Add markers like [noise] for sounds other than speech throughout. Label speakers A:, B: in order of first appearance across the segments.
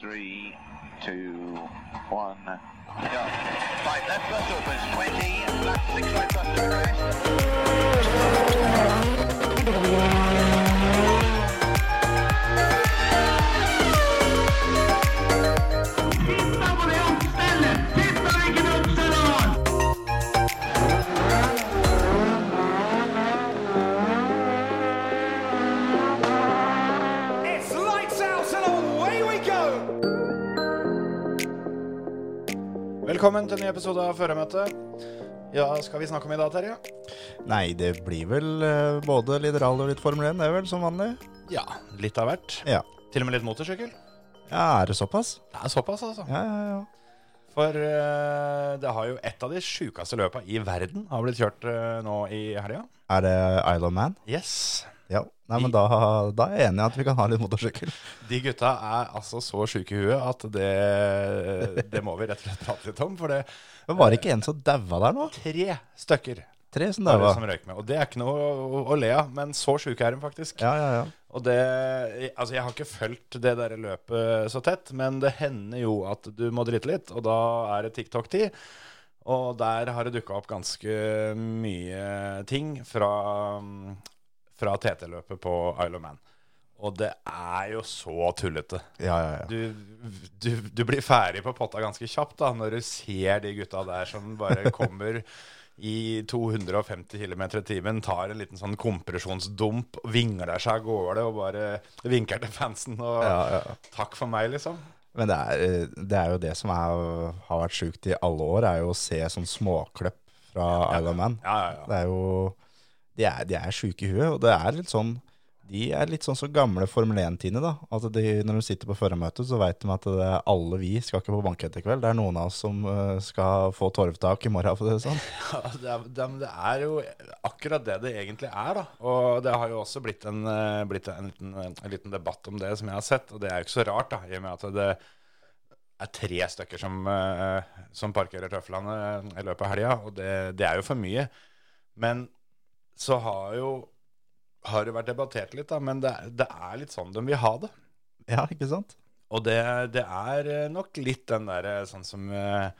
A: Three, two, one, go. Five left bus opens 20, left six right bus to rest.
B: It's lights out and away we go!
C: Velkommen til en ny episode av Føremøte. Ja, skal vi snakke om i dag, Terje?
D: Nei, det blir vel eh, både litt rally og litt Formel 1, det er vel som vanlig.
C: Ja, litt av hvert.
D: Ja.
C: Til og med litt motorsykkel.
D: ja, er det såpass?
C: Det er såpass, altså.
D: Ja, ja, ja.
C: For eh, det har jo et av de sjukeste løpa i verden har blitt kjørt eh, nå i helga.
D: Er det Isle of Man?
C: Yes.
D: Ja. Nei, men da, da er jeg enig i at vi kan ha litt motorsykkel.
C: De gutta er altså så sjuke i huet at det, det må vi rett og slett prate litt om. For det
D: Men var det ikke en som daua der nå?
C: tre stykker
D: Tre som
C: bare
D: daua.
C: som røyk med. Og det er ikke noe å, å le av, men så sjuke er de faktisk.
D: Ja, ja, ja.
C: Og det Altså, jeg har ikke fulgt det der løpet så tett, men det hender jo at du må drite litt, og da er det TikTok-tid. Og der har det dukka opp ganske mye ting fra, fra TT-løpet på Isle of Man. Og det er jo så tullete.
D: ja, ja, ja.
C: Du, du, du blir ferdig på potta ganske kjapt da når du ser de gutta der som
D: [laughs]
C: bare kommer i 250 km i timen, tar en liten sånn kompresjonsdump, vingler seg av gårde og bare vinker til fansen og
D: Ja, ja.
C: 'takk for meg', liksom.
D: Men det er, eh, det er jo det som er, har vært sjukt i alle år, er jo å se sånn småkløpp fra Isle of Man.
C: Ja, ja, ja.
D: Det er jo De er, de er sjuke i huet, og det er litt sånn De er litt sånn som gamle Formel 1-tiende, da. At de, når de sitter på førermøtet, så veit de at det er alle vi skal ikke på bankett i kveld. Det er noen av oss som eh, skal få torvtak i morgen, for å si det sånn. [laughs]
C: Ja, det, er, det, er- det er jo akkurat det det egentlig er, da. Og det har jo også blitt en, eh, blitt en, liten, en liten debatt om det som jeg har sett, og det er jo ikke så rart, da, i og med at det er tre stykker som, eh, som parkerer tøflene eh, i løpet av helga, og det, det er jo for mye. Men så har jo har det vært debattert litt, da, men det, det er litt sånn de vil ha det.
D: Ja, ikke sant?
C: Og det, det er eh, nok litt den derre sånn som eh,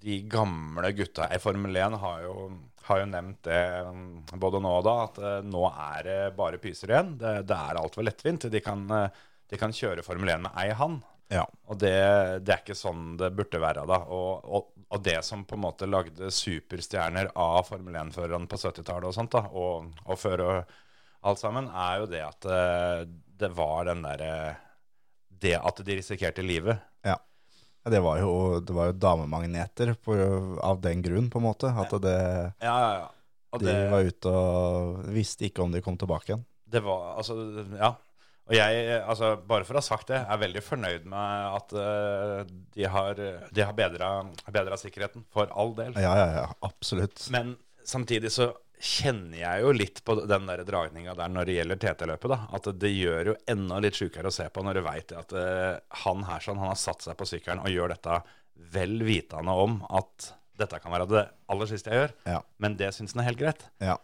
C: De gamle gutta i Formel 1 har jo, har jo nevnt det mm, både nå og da, at eh, nå er det bare pyser igjen. Det, det er altfor lettvint. De kan, eh, de kan kjøre Formel 1 med ei hand.
D: Ja.
C: Og det, det er ikke sånn det burde være da. Og, og, og det som på en måte lagde superstjerner av Formel 1-førerne på 70-tallet og sånt da, og, og før og alt sammen, er jo det at eh, det var den derre Det at de risikerte livet.
D: Ja, Det var jo, det var jo damemagneter på, av den grunn, på en måte. At det,
C: Ja, ja, ja. Og
D: de
C: det,
D: var ute og visste ikke om de kom tilbake igjen.
C: det var Altså, ja. Og jeg, altså, bare for å ha sagt det, er veldig fornøyd med at eh, de har, de har bedra, bedra sikkerheten, for all del.
D: Ja, ja, ja. Absolutt.
C: Men samtidig så kjenner jeg jo litt på den der dragninga der når det gjelder TT-løpet, da. At det gjør jo enda litt sjukere å se på når du veit at eh, han her sånn, han har satt seg på sykkelen og gjør dette vel vitende om at dette kan være det aller siste jeg gjør.
D: Ja.
C: Men det syns han er helt greit.
D: Ja,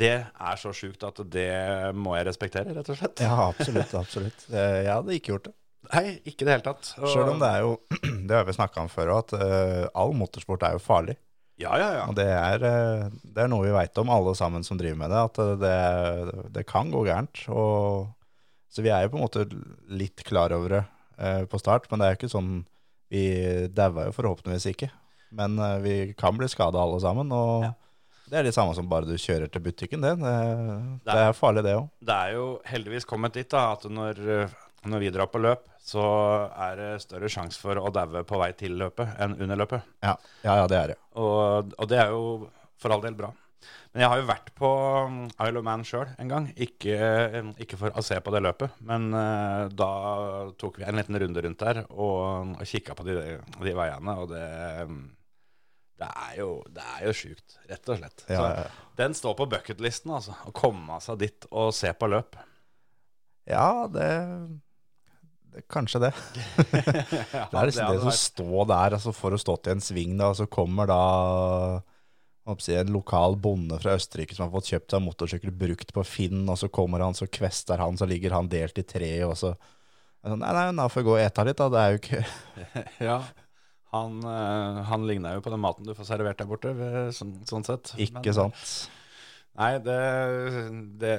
C: Det er så sjukt at det må jeg respektere, rett og slett.
D: ja absolutt. absolutt.
C: [laughs]
D: Eh, Jeg hadde ikke gjort det.
C: Nei, ikke i det hele tatt. Og-
D: Sjøl om det er jo, [clears throat] det har vi snakka om før òg, at eh, all motorsport er jo farlig.
C: Ja, ja, ja.
D: Og det er, eh, det er noe vi veit om alle sammen som driver med det, at eh, det, det kan gå gærent. Og, så vi er jo på en måte litt klar over det eh, på start, men det er jo ikke sånn Vi daua jo forhåpentligvis ikke, men eh, vi kan bli skada alle sammen. Og
C: Ja.
D: det er det samme som bare du kjører til butikken, det. Det,
C: Det
D: det er farlig, det òg.
C: det er jo heldigvis kommet dit da, at når, når vi drar på løp, så er det større sjanse for å daue på vei til løpet enn under løpet.
D: Ja. ja, ja, det er det.
C: Og, og det er jo for all del bra. Men jeg har jo vært på mm, Isle of Man sjøl en gang. Ikke, um, ikke for å se på det løpet, men eh, da tok vi en liten runde rundt der og, um, og kikka på de, de veiene, og det mm, det er jo, det er jo sjukt, rett og slett.
D: Ja, ja, ja.
C: Så den står på bucketlisten, altså. Å komme seg dit og se på løp.
D: Ja, det, det Kanskje det.
C: Ja,
D: [laughs] Det er liksom det,
C: hadde
D: å stå der, altså for å stå til en sving, da, og så kommer da hva skal jeg si, en lokal bonde fra Østerrike som har fått kjøpt seg motorsykkel brukt på Finn, og så kommer han, så kvester han, så ligger han delt i treet, og så Jeg sa, Nei, nei, da får jeg gå og ete litt, da. Det er jo ikke
C: Ja. Han, eh, han ligna jo på den maten du får servert der borte, ved- sånn, sånn sett. [laughs] Men-
D: Ikke sant.
C: Nei, det, det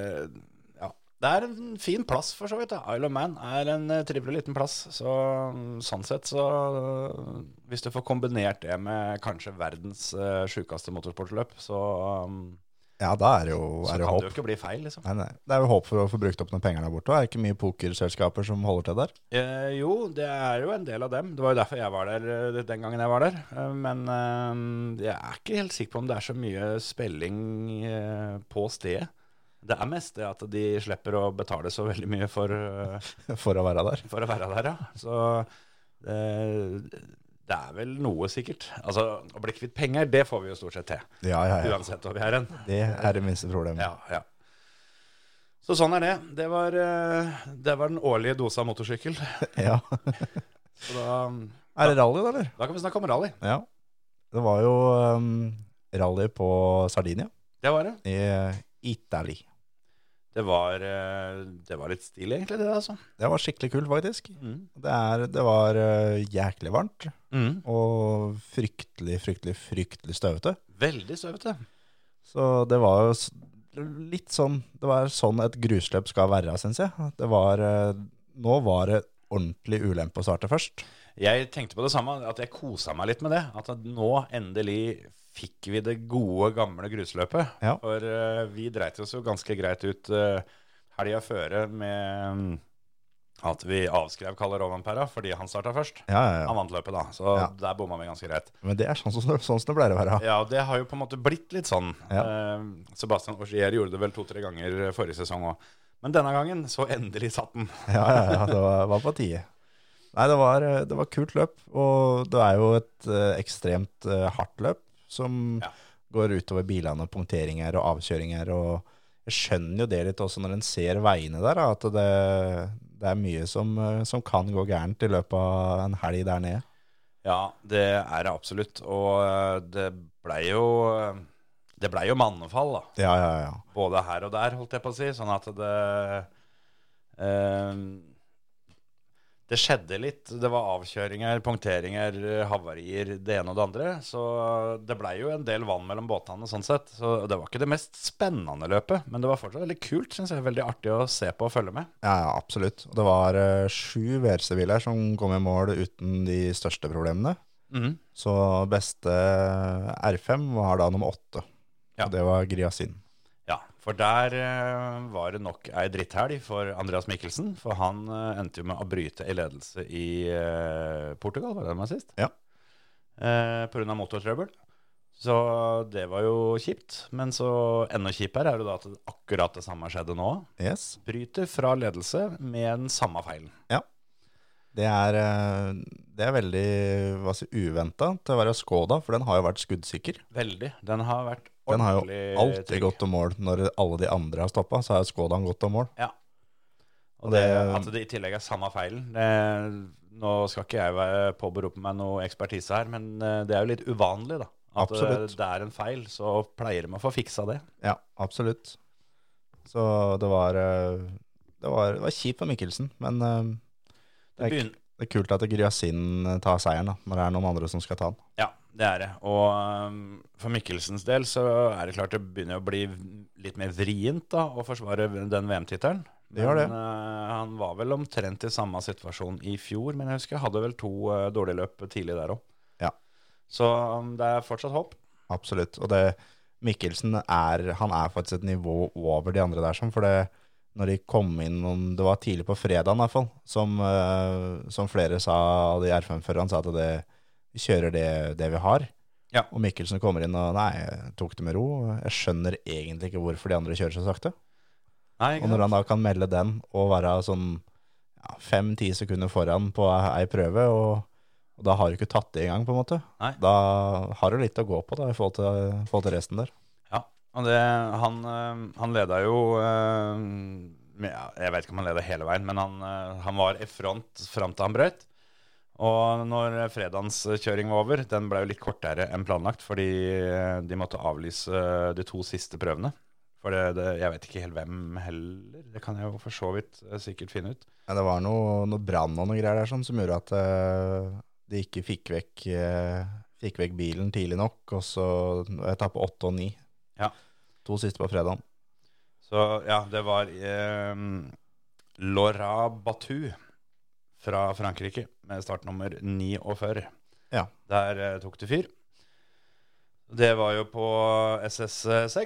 C: Ja. Det er en fin plass, for så vidt. da. Isle of Man er en eh, trivelig liten plass. Så mm, sånn sett, så eh, Hvis du får kombinert det med kanskje verdens uh, sjukeste motorsportløp, så, um,
D: Ja, da er det jo,
C: så
D: er
C: kan
D: det
C: det
D: håp.
C: jo ikke bli feil, liksom.
D: Nei, nei. Det er jo håp for å få brukt opp noen penger der borte. og Er det ikke mye pokerselskaper som holder til der? [laughs]
C: Eh, jo, det er jo en del av dem. Det var jo derfor jeg var der eh, den gangen jeg var der. Eh, men eh, jeg er ikke helt sikker på om det er så mye spilling eh, på stedet. Det er mest det at de slipper å betale så veldig mye for, eh,
D: For å være der.
C: for å være der, ja. Så eh, det er vel noe, sikkert. Altså, å bli kvitt penger, det får vi jo stort sett til.
D: Ja, ja, Mm. ja.
C: Uansett hvor vi er hen.
D: Det er det minste problemet.
C: Ja, ja. Så sånn er det. Det var, eh, det var den årlige dosa motorsykkel.
D: [laughs] Ja.
C: Så da,
D: Er det rally, da, eller?
C: da kan vi snakke om rally.
D: Ja. Det var jo um, rally på Sardinia
C: Det var det.
D: i Italy.
C: Det var, eh, det var litt stilig, egentlig, det, altså.
D: Det var skikkelig kult, faktisk.
C: Mm.
D: Det, er, det var eh, jæklig varmt og fryktelig, fryktelig, fryktelig støvete.
C: Veldig støvete.
D: Så det var jo s- litt sånn Det var sånn et grusløp skal være, syns jeg. Det var eh, Nå var det ordentlig ulempe å starte først.
C: Jeg tenkte på det samme, at jeg kosa meg litt med det. At nå endelig fikk vi det gode, gamle grusløpet.
D: Ja.
C: For eh, vi dreit oss jo ganske greit ut uh, helga føre med mm, at vi avskrev Kalle Rovanpera fordi han starta først.
D: Ja, ja, ja.
C: Han vant løpet, da, så
D: Ja.
C: der bomma vi ganske greit.
D: Men det er sånn som, sånn som det pleier å være.
C: Ja, og det har jo på en måte blitt litt sånn.
D: Ja.
C: Eh, Sebastian Augier gjorde det vel to-tre ganger eh, forrige sesong òg. Men denne gangen så endelig satt den.
D: Ja, ja, ja det var, var på tide. Nei, det var, eh, det var kult løp, og det er jo et eh, ekstremt eh, hardt løp som
C: Ja.
D: går utover bilene og punkteringer og avkjøringer. Og jeg skjønner jo det litt også når en ser veiene der, da, at det, det er mye som, eh, som kan gå gærent i løpet av en helg der nede.
C: Ja, det er det absolutt. Og eh, det blei jo eh, Det blei jo mannefall, da.
D: Ja, ja, ja.
C: Både her og der, holdt jeg på å si. Sånn at det eh, Det skjedde litt. Det var avkjøringer, punkteringer, havarier, det ene og det andre. Så det blei jo en del vann mellom båtene, sånn sett. Så det var ikke det mest spennende løpet, men det var fortsatt veldig kult, syns jeg. Veldig artig å se på og følge med.
D: Ja, ja, absolutt. Og det var eh, sju VRC-biler som kom i mål uten de største problemene.
C: Mhm.
D: Så beste R5 var da nummer åtte.
C: Ja.
D: Og det var Griasin.
C: Ja, for der eh, var det nok ei dritthelg for Andreas Mikkelsen. For han eh, endte jo med å bryte i ledelse i eh, Portugal, var det med sist?
D: Ja.
C: Eh, på grunn av motortrøbbel. Så det var jo kjipt. Men så enda kjipere er det da at akkurat det samme skjedde nå.
D: Yes.
C: Bryter fra ledelse med den samme feilen.
D: Det er, eh, det er veldig hva si, uventa til å være Skoda, for den har jo vært skuddsikker.
C: Veldig. Den har vært
D: Den har jo
C: ordentlig
D: alltid
C: trygg.
D: gått til mål. Når alle de andre har stoppa, så har jo Skodaen gått til mål.
C: Og det,
D: Det- um,
C: at det i tillegg er samme feilen det, Nå skal ikke jeg være- påberope meg noe ekspertise her, men eh, det er jo litt uvanlig, da. At eh,
D: Absolutt.
C: det er en feil, så pleier de å få fiksa det.
D: Ja, absolutt. Så det var eh, Det var, det var kjipt for Mikkelsen, men eh,
C: Det,
D: det er,
C: begyn-
D: det er kult at Griasin tar seieren, da, når det er noen andre som skal ta den.
C: ja, det er det. Og eh, for Mikkelsens del så er det klart det begynner å bli litt mer vrient da, å forsvare den VM-tittelen.
D: Det gjør det.
C: Men, eh, han var vel omtrent i samme situasjon i fjor, men jeg husker jeg hadde vel to eh, dårlige løp tidlig der òg.
D: Ja.
C: Så eh, det er fortsatt håp.
D: Absolutt. Og det, Mikkelsen er, han er faktisk et nivå over de andre der, sånn, for det, når de kom inn, om det var tidlig på fredagen i hvert fall, som, eh, som flere sa, av de R5-førerne sa at det, vi kjører det, det vi har.
C: Ja.
D: Og Mikkelsen kommer inn og nei, jeg tok det med ro. Jeg skjønner egentlig ikke hvorfor de andre kjører så sakte.
C: Nei, ikke
D: Og når
C: sant?
D: han da kan melde den og være sånn ja, fem-ti sekunder foran på ei prøve, og, og da har du ikke tatt det engang, på en måte.
C: Nei.
D: Da har du litt å gå på da, i forhold til, i forhold til resten der.
C: Ja, og det, han, eh, han leda jo eh, med- ja, Jeg vet ikke om han leda hele veien, men han, eh, han var i front fram til han brøyt. Og når fredagskjøring var over, den eh, ble jo litt kortere enn planlagt, fordi eh, de måtte avlyse de to eh, siste prøvene. For det, det, jeg vet ikke helt hvem heller. Det kan jeg jo for så vidt eh, sikkert finne ut.
D: Men det var noe, noe brann og noe greier der sånn, som gjorde at eh, de ikke fikk vekk, eh, fikk vekk bilen tidlig nok. Og så etappe åtte og ni.
C: Ja.
D: To siste på fredagen.
C: Så ja, det var eh, Laura Batu fra Frankrike med startnummer 49.
D: Ja.
C: Der eh, tok det fyr. Det var jo på SS6,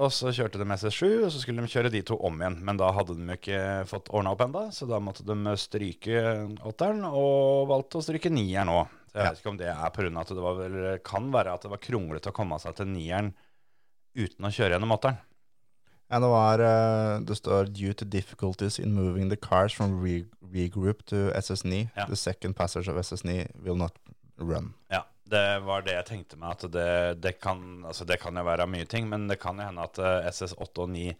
C: og så kjørte de SS7, og så skulle de kjøre de to om igjen. Men da hadde de jo ikke fått ordna opp enda, så da måtte de stryke åtteren, og valgte å stryke nieren òg. Så jeg
D: Ja.
C: vet ikke om det er pga. at det var vel, kan være at det var kronglete å komme seg til nieren uten å kjøre gjennom åtteren.
D: Ja, det var eh, Det står 'due to difficulties in moving the cars from re regroup to SS9'.
C: Ja.
D: The second passage of SS9 will not run.
C: Ja, det var det jeg tenkte meg. At det, det, kan, altså det kan jo være mye ting, men det kan jo hende at eh, SS8 og 9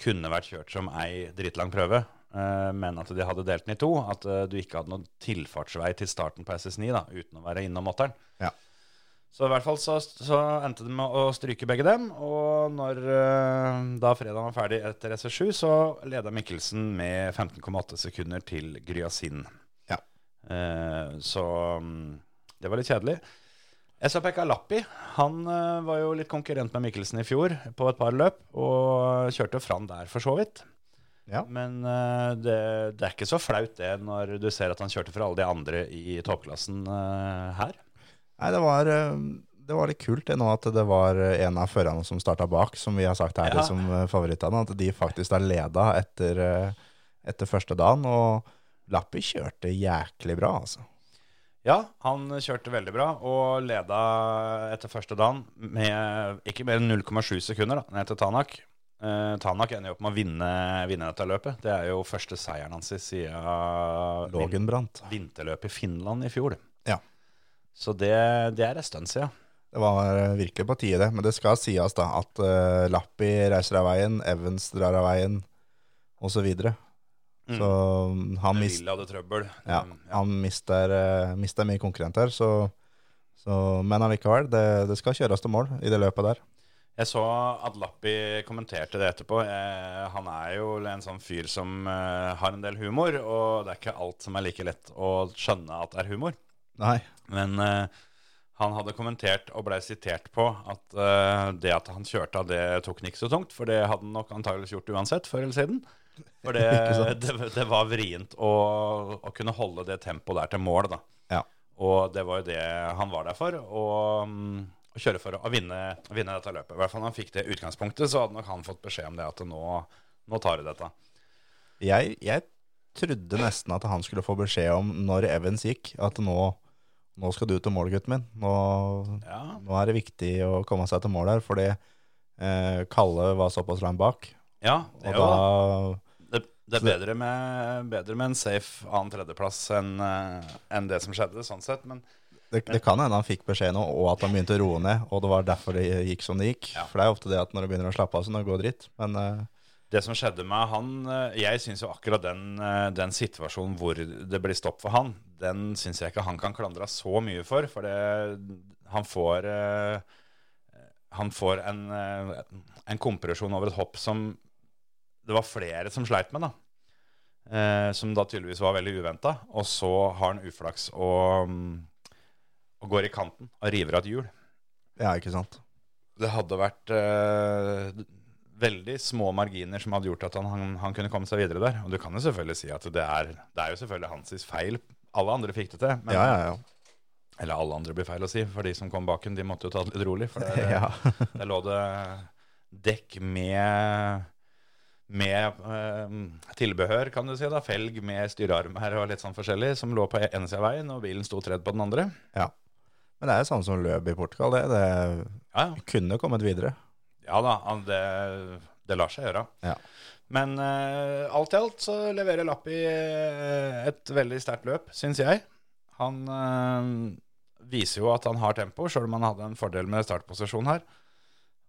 C: kunne vært kjørt som ei dritlang prøve, eh, men at de hadde delt den i to. At eh, du ikke hadde noen tilfartsvei til starten på SS9 da, uten å være innom åtteren.
D: Ja.
C: Så i hvert fall så, så endte det med å stryke begge dem, og når, eh, da fredagen var ferdig etter SS7, så leda Mikkelsen med 15,8 sekunder til Gryasin.
D: Ja.
C: Eh, så mm, det var litt kjedelig. Jeg så Pekka Lappi. Han eh, var jo litt konkurrent med Mikkelsen i fjor på et par løp, og kjørte fram der for så vidt.
D: Ja.
C: Men eh, det, det er ikke så flaut det når du ser at han kjørte for alle de andre i toppklassen eh, her.
D: Nei, det var, eh, det var litt kult det nå at det var eh, en av førerne som starta bak, som vi har sagt her
C: Ja.
D: liksom eh, favorittene, at de faktisk har leda etter, eh, etter første dagen. Og Lappi kjørte jæklig bra, altså.
C: Ja, han kjørte veldig bra og leda etter første dagen med ikke mer enn 0,7 sekunder da, ned til Tanak. Eh, Tanak ender jo opp med å vinne, vinne dette løpet. Det er jo første seieren hans i siden
D: Lågen brant.
C: vinterløpet i Finland i fjor.
D: Ja.
C: Så det, det er en stund siden.
D: Det var eh, virkelig på tide, det. Men det skal sies da at eh, Lappi reiser av veien, Evans drar av veien, osv. Så, videre.
C: Mm.
D: så mm, han, mis
C: Lille hadde trøbbel.
D: ja,
C: Um, ja.
D: han mister, eh, mister mye konkurrenter. Så, så, men allikevel, det, det skal kjøres til mål i det løpet der.
C: Jeg så at Lappi kommenterte det etterpå. Eh, han er jo en sånn fyr som eh, har en del humor, og det er ikke alt som er like lett å skjønne at er humor.
D: Nei.
C: Men eh, han hadde kommentert og blei sitert på at eh, det at han kjørte av, det tok han ikke så tungt. For det hadde han nok antageligvis gjort uansett, før eller siden. For det,
D: [laughs] Ikke
C: [laughs]
D: sant?
C: det, det var vrient å, å kunne holde det tempoet der til mål, da.
D: Ja.
C: Og det var jo det han var der for. Og mm, å kjøre for å vinne, vinne dette løpet. I hvert fall når han fikk det utgangspunktet, så hadde nok han fått beskjed om det at nå, nå tar du dette.
D: Jeg, jeg trodde nesten at han skulle få beskjed om når Evans gikk, at nå, nå skal du til mål, gutten min. Nå,
C: Ja.
D: nå er det viktig å komme seg til mål her, fordi eh, Kalle var såpass langt bak.
C: ja det
D: Og
C: er jo
D: da
C: Det, det er
D: Så det-
C: bedre med, bedre med en safe annen tredjeplass enn eh, enn det som skjedde, sånn sett. Men
D: det, det kan hende han fikk beskjed nå, og at han begynte å roe ned, og det var derfor det gikk som det gikk.
C: Ja.
D: For det er ofte det at når du begynner å slappe av, så når det går dritt. Men eh,
C: det som skjedde med han eh, Jeg syns jo akkurat den, eh, den situasjonen hvor det blir stopp for han, den syns jeg ikke han kan klandre så mye for. For det, han får eh, Han får en, eh, en kompresjon over et hopp som det var flere som sleit med, da. Eh, som da tydeligvis var veldig uventa. Og så har han uflaks og, mm, og går i kanten og river av et hjul.
D: ja, ikke sant.
C: det hadde vært eh, veldig små marginer som hadde gjort at han, han, han kunne komme seg videre der. Og du kan jo selvfølgelig si at det er, det er jo selvfølgelig hans feil. Alle andre fikk det til. Men,
D: Ja, ja,
C: [laughs]
D: ja.
C: Eller alle andre blir feil å si, for de som kom baken, de måtte jo ta det litt rolig.
D: [laughs]
C: For det,
D: ja.
C: der lå det dekk med med eh, tilbehør, kan du si. da, Felg med styrearmer og litt sånn forskjellig, som lå på ene sida av veien, og bilen sto tredd på den andre.
D: ja. Men det er jo samme som løp i Portugal, det. Det
C: Ja, ja.
D: kunne kommet videre.
C: Ja da, han- det, det lar seg gjøre.
D: Ja.
C: Men eh, alt i alt så leverer Lappi eh, et veldig sterkt løp, syns jeg. Han eh, viser jo at han har tempo, sjøl om han hadde en fordel med startposisjon her.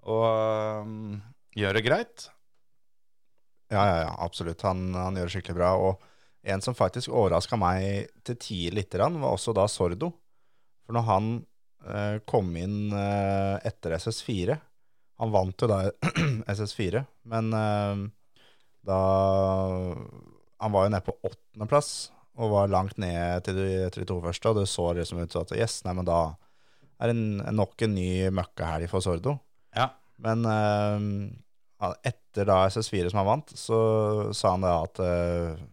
C: Og eh, gjør det greit.
D: Ja, ja, ja, absolutt. Han, han gjør det skikkelig bra. Og en som faktisk overraska meg til tider lite grann, var også da Sordo. For når han eh, kom inn eh, etter SS4, Han vant jo da [clears throat] SS4, men eh, da Han var jo nede på åttendeplass og var langt ned til de, til de to første, og det så liksom ut som at yes, nei, men da er det en- nok en ny møkkahelg for Sordo.
C: Ja.
D: Men eh, etter da SS4 som han vant, så sa han da at eh,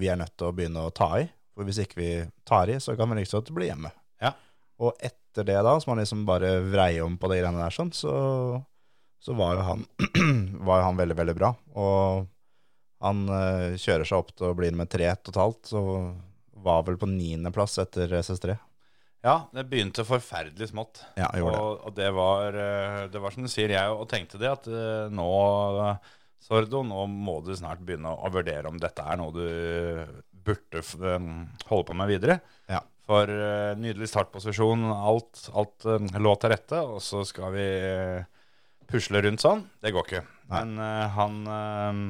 D: vi er nødt til å begynne å ta i. For hvis ikke vi tar i, så kan vi like liksom bli hjemme.
C: Ja.
D: Og etter det da, som han liksom bare vrei om på de greiene der sånn, så, så var jo han, [clears throat] var jo han veldig, veldig bra. Og han eh, kjører seg opp til å bli nummer tre totalt, så var vel på niendeplass etter SS3.
C: Ja, det begynte forferdelig smått.
D: Ja, han gjorde det.
C: og, og det var eh, Det var som du sier, jeg og tenkte det, at eh, nå eh, Sordo, nå må du snart begynne å vurdere om dette er noe du burde f- em, holde på med videre.
D: Ja.
C: For eh, nydelig startposisjon, alt, alt eh, lå til rette, og så skal vi eh, pusle rundt sånn. Det går ikke.
D: Nei.
C: Men eh, han eh,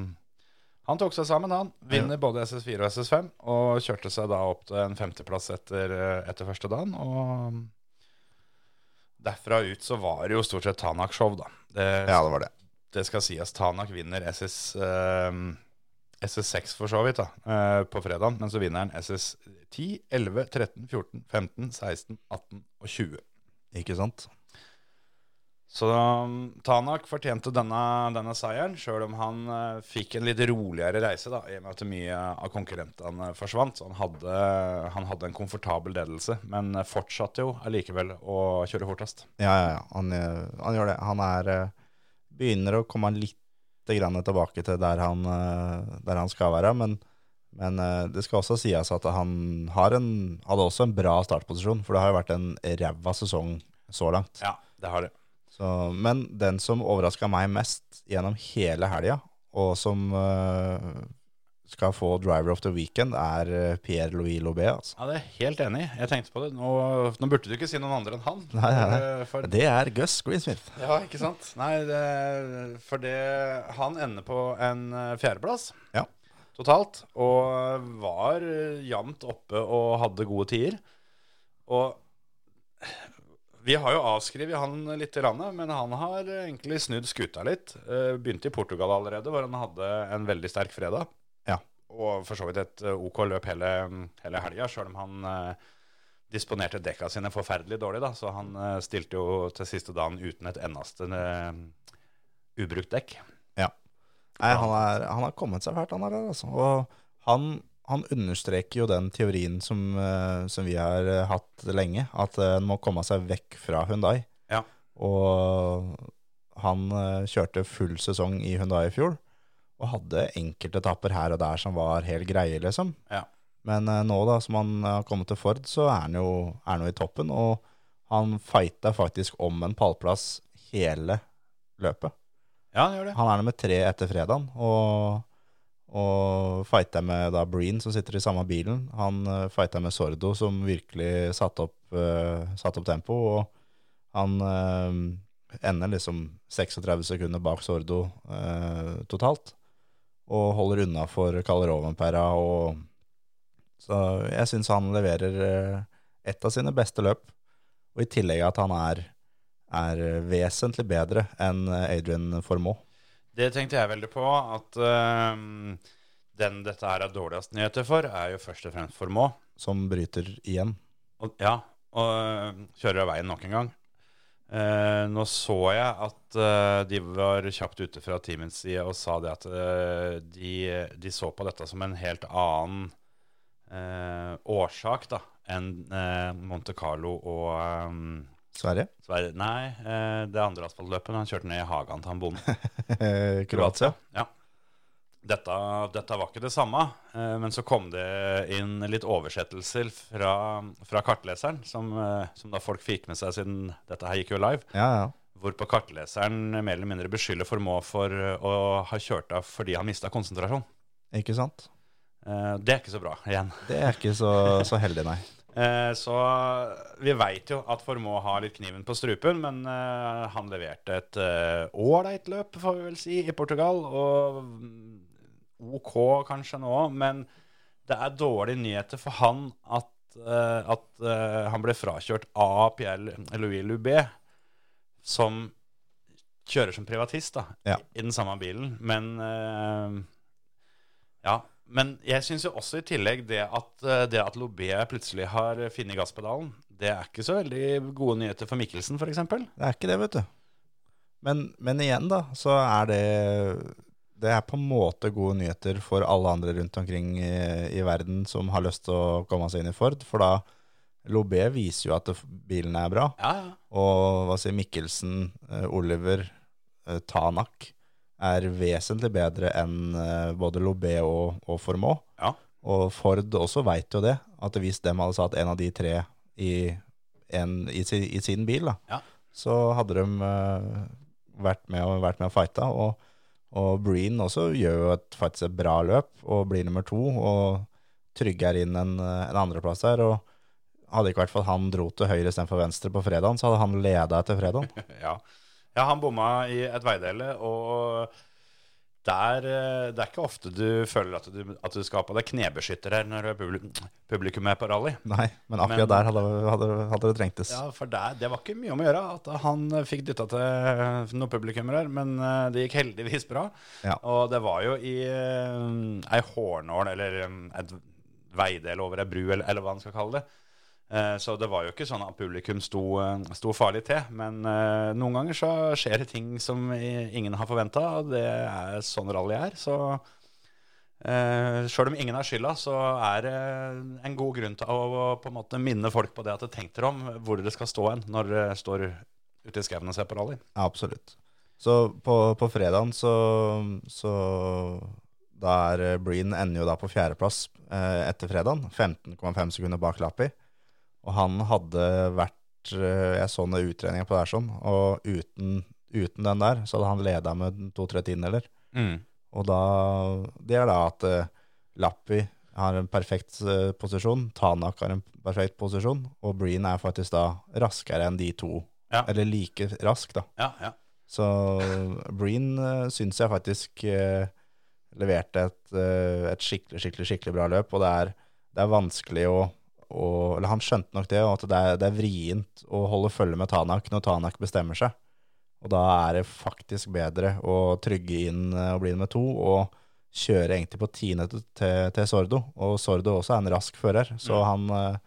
C: han tok seg sammen, han. Vinner både SS4 og SS5. Og kjørte seg da opp til en femteplass etter, eh, etter første dagen. Og derfra ut så var det jo stort sett Tanak-show, da. Det,
D: Ja, det var det.
C: det skal sies Tanak vinner SS, eh, SS6 for så vidt da, eh, på fredagen. Men så vinner han SS10, 11, 13, 14, 15, 16, 18 og 20.
D: Ikke sant?
C: Så um, Tanak fortjente denne, denne seieren, sjøl om han eh, fikk en litt roligere reise, da, i og med at mye av konkurrentene forsvant. Så han hadde, han hadde en komfortabel ledelse, men fortsatte jo allikevel å kjøre fortest.
D: Ja, ja, ja. Han, eh, han gjør det. Han er eh, begynner å komme litt grann tilbake til der han, eh, der han skal være, men, men eh, det skal også sies at han har en, hadde også en bra startposisjon, for det har jo vært en ræva sesong så langt.
C: Ja, det har det.
D: Så, men den som overraska meg mest gjennom hele helga, og som eh, skal få driver of the weekend, er eh, Pierre-Louis Lobé. Altså.
C: Ja, det er jeg helt enig. i. Jeg tenkte på det. Nå, nå burde du ikke si noen andre enn han.
D: Nei, nei, nei.
C: Eh, For,
D: Det er Gus Greensmith.
C: Ja, ikke sant? Nei, det, for det, han ender på en eh, fjerdeplass
D: Ja.
C: totalt, og var eh, jevnt oppe og hadde gode tider. Og vi har jo avskrevet han litt, grann, men han har egentlig snudd skuta litt. Eh, Begynte i Portugal allerede, hvor han hadde en veldig sterk fredag.
D: Ja.
C: Og for så vidt et eh, OK løp hele, hele helga, sjøl om han eh, disponerte dekka sine forferdelig dårlig, da, så han eh, stilte jo til siste dagen uten et eneste eh, ubrukt dekk.
D: Nei, han, er, han har kommet seg fælt, han er der, altså. Og han, han understreker jo den teorien som, eh, som vi har eh, hatt lenge, at eh, en må komme seg vekk fra Hyundai.
C: Ja.
D: Og han eh, kjørte full sesong i Hyundai i fjor, og hadde enkeltetapper her og der som var helt greie, liksom.
C: Ja.
D: Men eh, nå da, som han har kommet til Ford, så er han jo, er han jo i toppen, og han fighta faktisk om en pallplass hele løpet.
C: Ja, han gjør det.
D: Han er nummer tre etter fredagen, og, og fighter med da Breen, som sitter i samme bilen. Han eh, fighter med Sordo, som virkelig satte opp, eh, satte opp tempo, og han eh, ender liksom 36 sekunder bak Sordo eh, totalt, og holder unna for Kalerovenpera, og så jeg synes han leverer eh, et av sine beste løp, og i tillegg at han er er vesentlig bedre enn eh, Adrian Formoe.
C: Det tenkte jeg veldig på, at eh, den dette her er dårligst nyheter for, er jo først og fremst for Må.
D: som bryter igjen.
C: Og, ja, og eh, kjører av veien nok en gang. Eh, nå så jeg at eh, de var kjapt ute fra teamets side og sa det at eh, de, de så på dette som en helt annen eh, årsak da, enn eh, Monte Carlo og eh,
D: Sverige, [laughs]
C: Sverige. Nei, eh, det andre asfaltløpet. Han kjørte ned i hagen til han bonden.
D: Kroatia.
C: Ja. Dette, dette var ikke det samme, eh, men så kom det inn litt oversettelser fra, fra kartleseren, som, eh, som da folk fikk med seg siden dette her gikk jo live.
D: Ja, ja.
C: Hvorpå kartleseren mer eller mindre beskylder Formå for eh, å ha kjørt av fordi han mista konsentrasjon.
D: Ikke sant?
C: Eh, Det er ikke så bra, igjen.
D: Det er ikke så, så heldig, nei.
C: Eh, Så vi veit jo at Formå har litt kniven på strupen, men eh, han leverte et eh, ålreit løp, får vi vel si, i Portugal. Og mm, OK kanskje nå, men det er dårlige nyheter for han at, eh, at eh, han ble frakjørt av Pierre Louis Loubet, som kjører som privatist da,
D: Ja.
C: i den samme bilen. Men eh, ja. Men jeg syns jo også i tillegg det at, eh, det at Lobé plutselig har funnet gasspedalen, det er ikke så veldig gode nyheter for Mikkelsen, f.eks.
D: Det er ikke det, vet du. Men, men igjen, da, så er det Det er på en måte gode nyheter for alle andre rundt omkring i, i verden som har lyst til å komme seg inn i Ford, for da Lobé viser jo at det- bilen er bra.
C: Ja, ja.
D: Og hva sier Mikkelsen, eh, Oliver, eh, Tanak er vesentlig bedre enn eh, både Lobé og, og Formå.
C: Ja.
D: Og Ford også veit jo det, at hvis dem hadde satt en av de tre i, en, i, si, i sin bil, da,
C: Ja.
D: så hadde de eh, vært, med og, vært med og fighta. Og, og Breen også gjør jo et, faktisk et bra løp og blir nummer to og trygger inn en, eh, en andreplass der. og hadde ikke vært for at han dro til høyre istedenfor venstre på fredagen, så hadde han leda etter
C: [laughs]
D: fredagen.
C: Ja. ja, han bomma i et veidele, og der, eh, det er ikke ofte du føler at du, at du skal ha på deg knebeskytter her når publi- publikum er på rally.
D: Nei, men akkurat
C: Men-
D: der hadde, hadde, hadde det trengtes.
C: Ja, for der, Det var ikke mye om å gjøre at han fikk dytta til eh, noen publikummere, men eh, det gikk heldigvis bra.
D: Ja.
C: Og det var jo i eh, ei hårnål, eller um, et veidel over ei bru, eller, eller hva man skal kalle det. Eh, Så det var jo ikke sånn at publikum sto, eh, sto farlig til. Men eh, noen ganger så skjer det ting som i- ingen har forventa, og det er sånn rally er. Så eh, sjøl om ingen har skylda, så er det en god grunn til å, å på en måte minne folk på det at de tenkte dere om hvor dere skal stå hen når dere står ute i skauen og ser på rally.
D: Ja, absolutt. Så på, på fredagen så, så Da er eh, Breen ender jo da på fjerdeplass eh, etter fredagen. 15,5 sekunder bak Lappi. Og han hadde vært eh, Jeg så noen utregninger på det her sånn, og uten, uten den der så hadde han leda med to-tre tiendedeler. Og da, det er da at eh, Lappi har en perfekt eh, posisjon, Tanak har en perfekt posisjon, og Breen er faktisk da raskere enn de to.
C: Ja.
D: Eller like rask, da.
C: Ja, ja.
D: Så Breen uh, syns jeg faktisk eh, leverte et, eh, et skikkelig, skikkelig, skikkelig bra løp, og det er, det er vanskelig å å- eller han skjønte nok det, og at det er, det er vrient å holde følge med Tanak når Tanak bestemmer seg. Og da er det faktisk bedre å trygge inn eh, og bli nummer to, og kjøre egentlig på tiende til, til, til Sordo. Og Sordo også er en rask fører, så han, eh,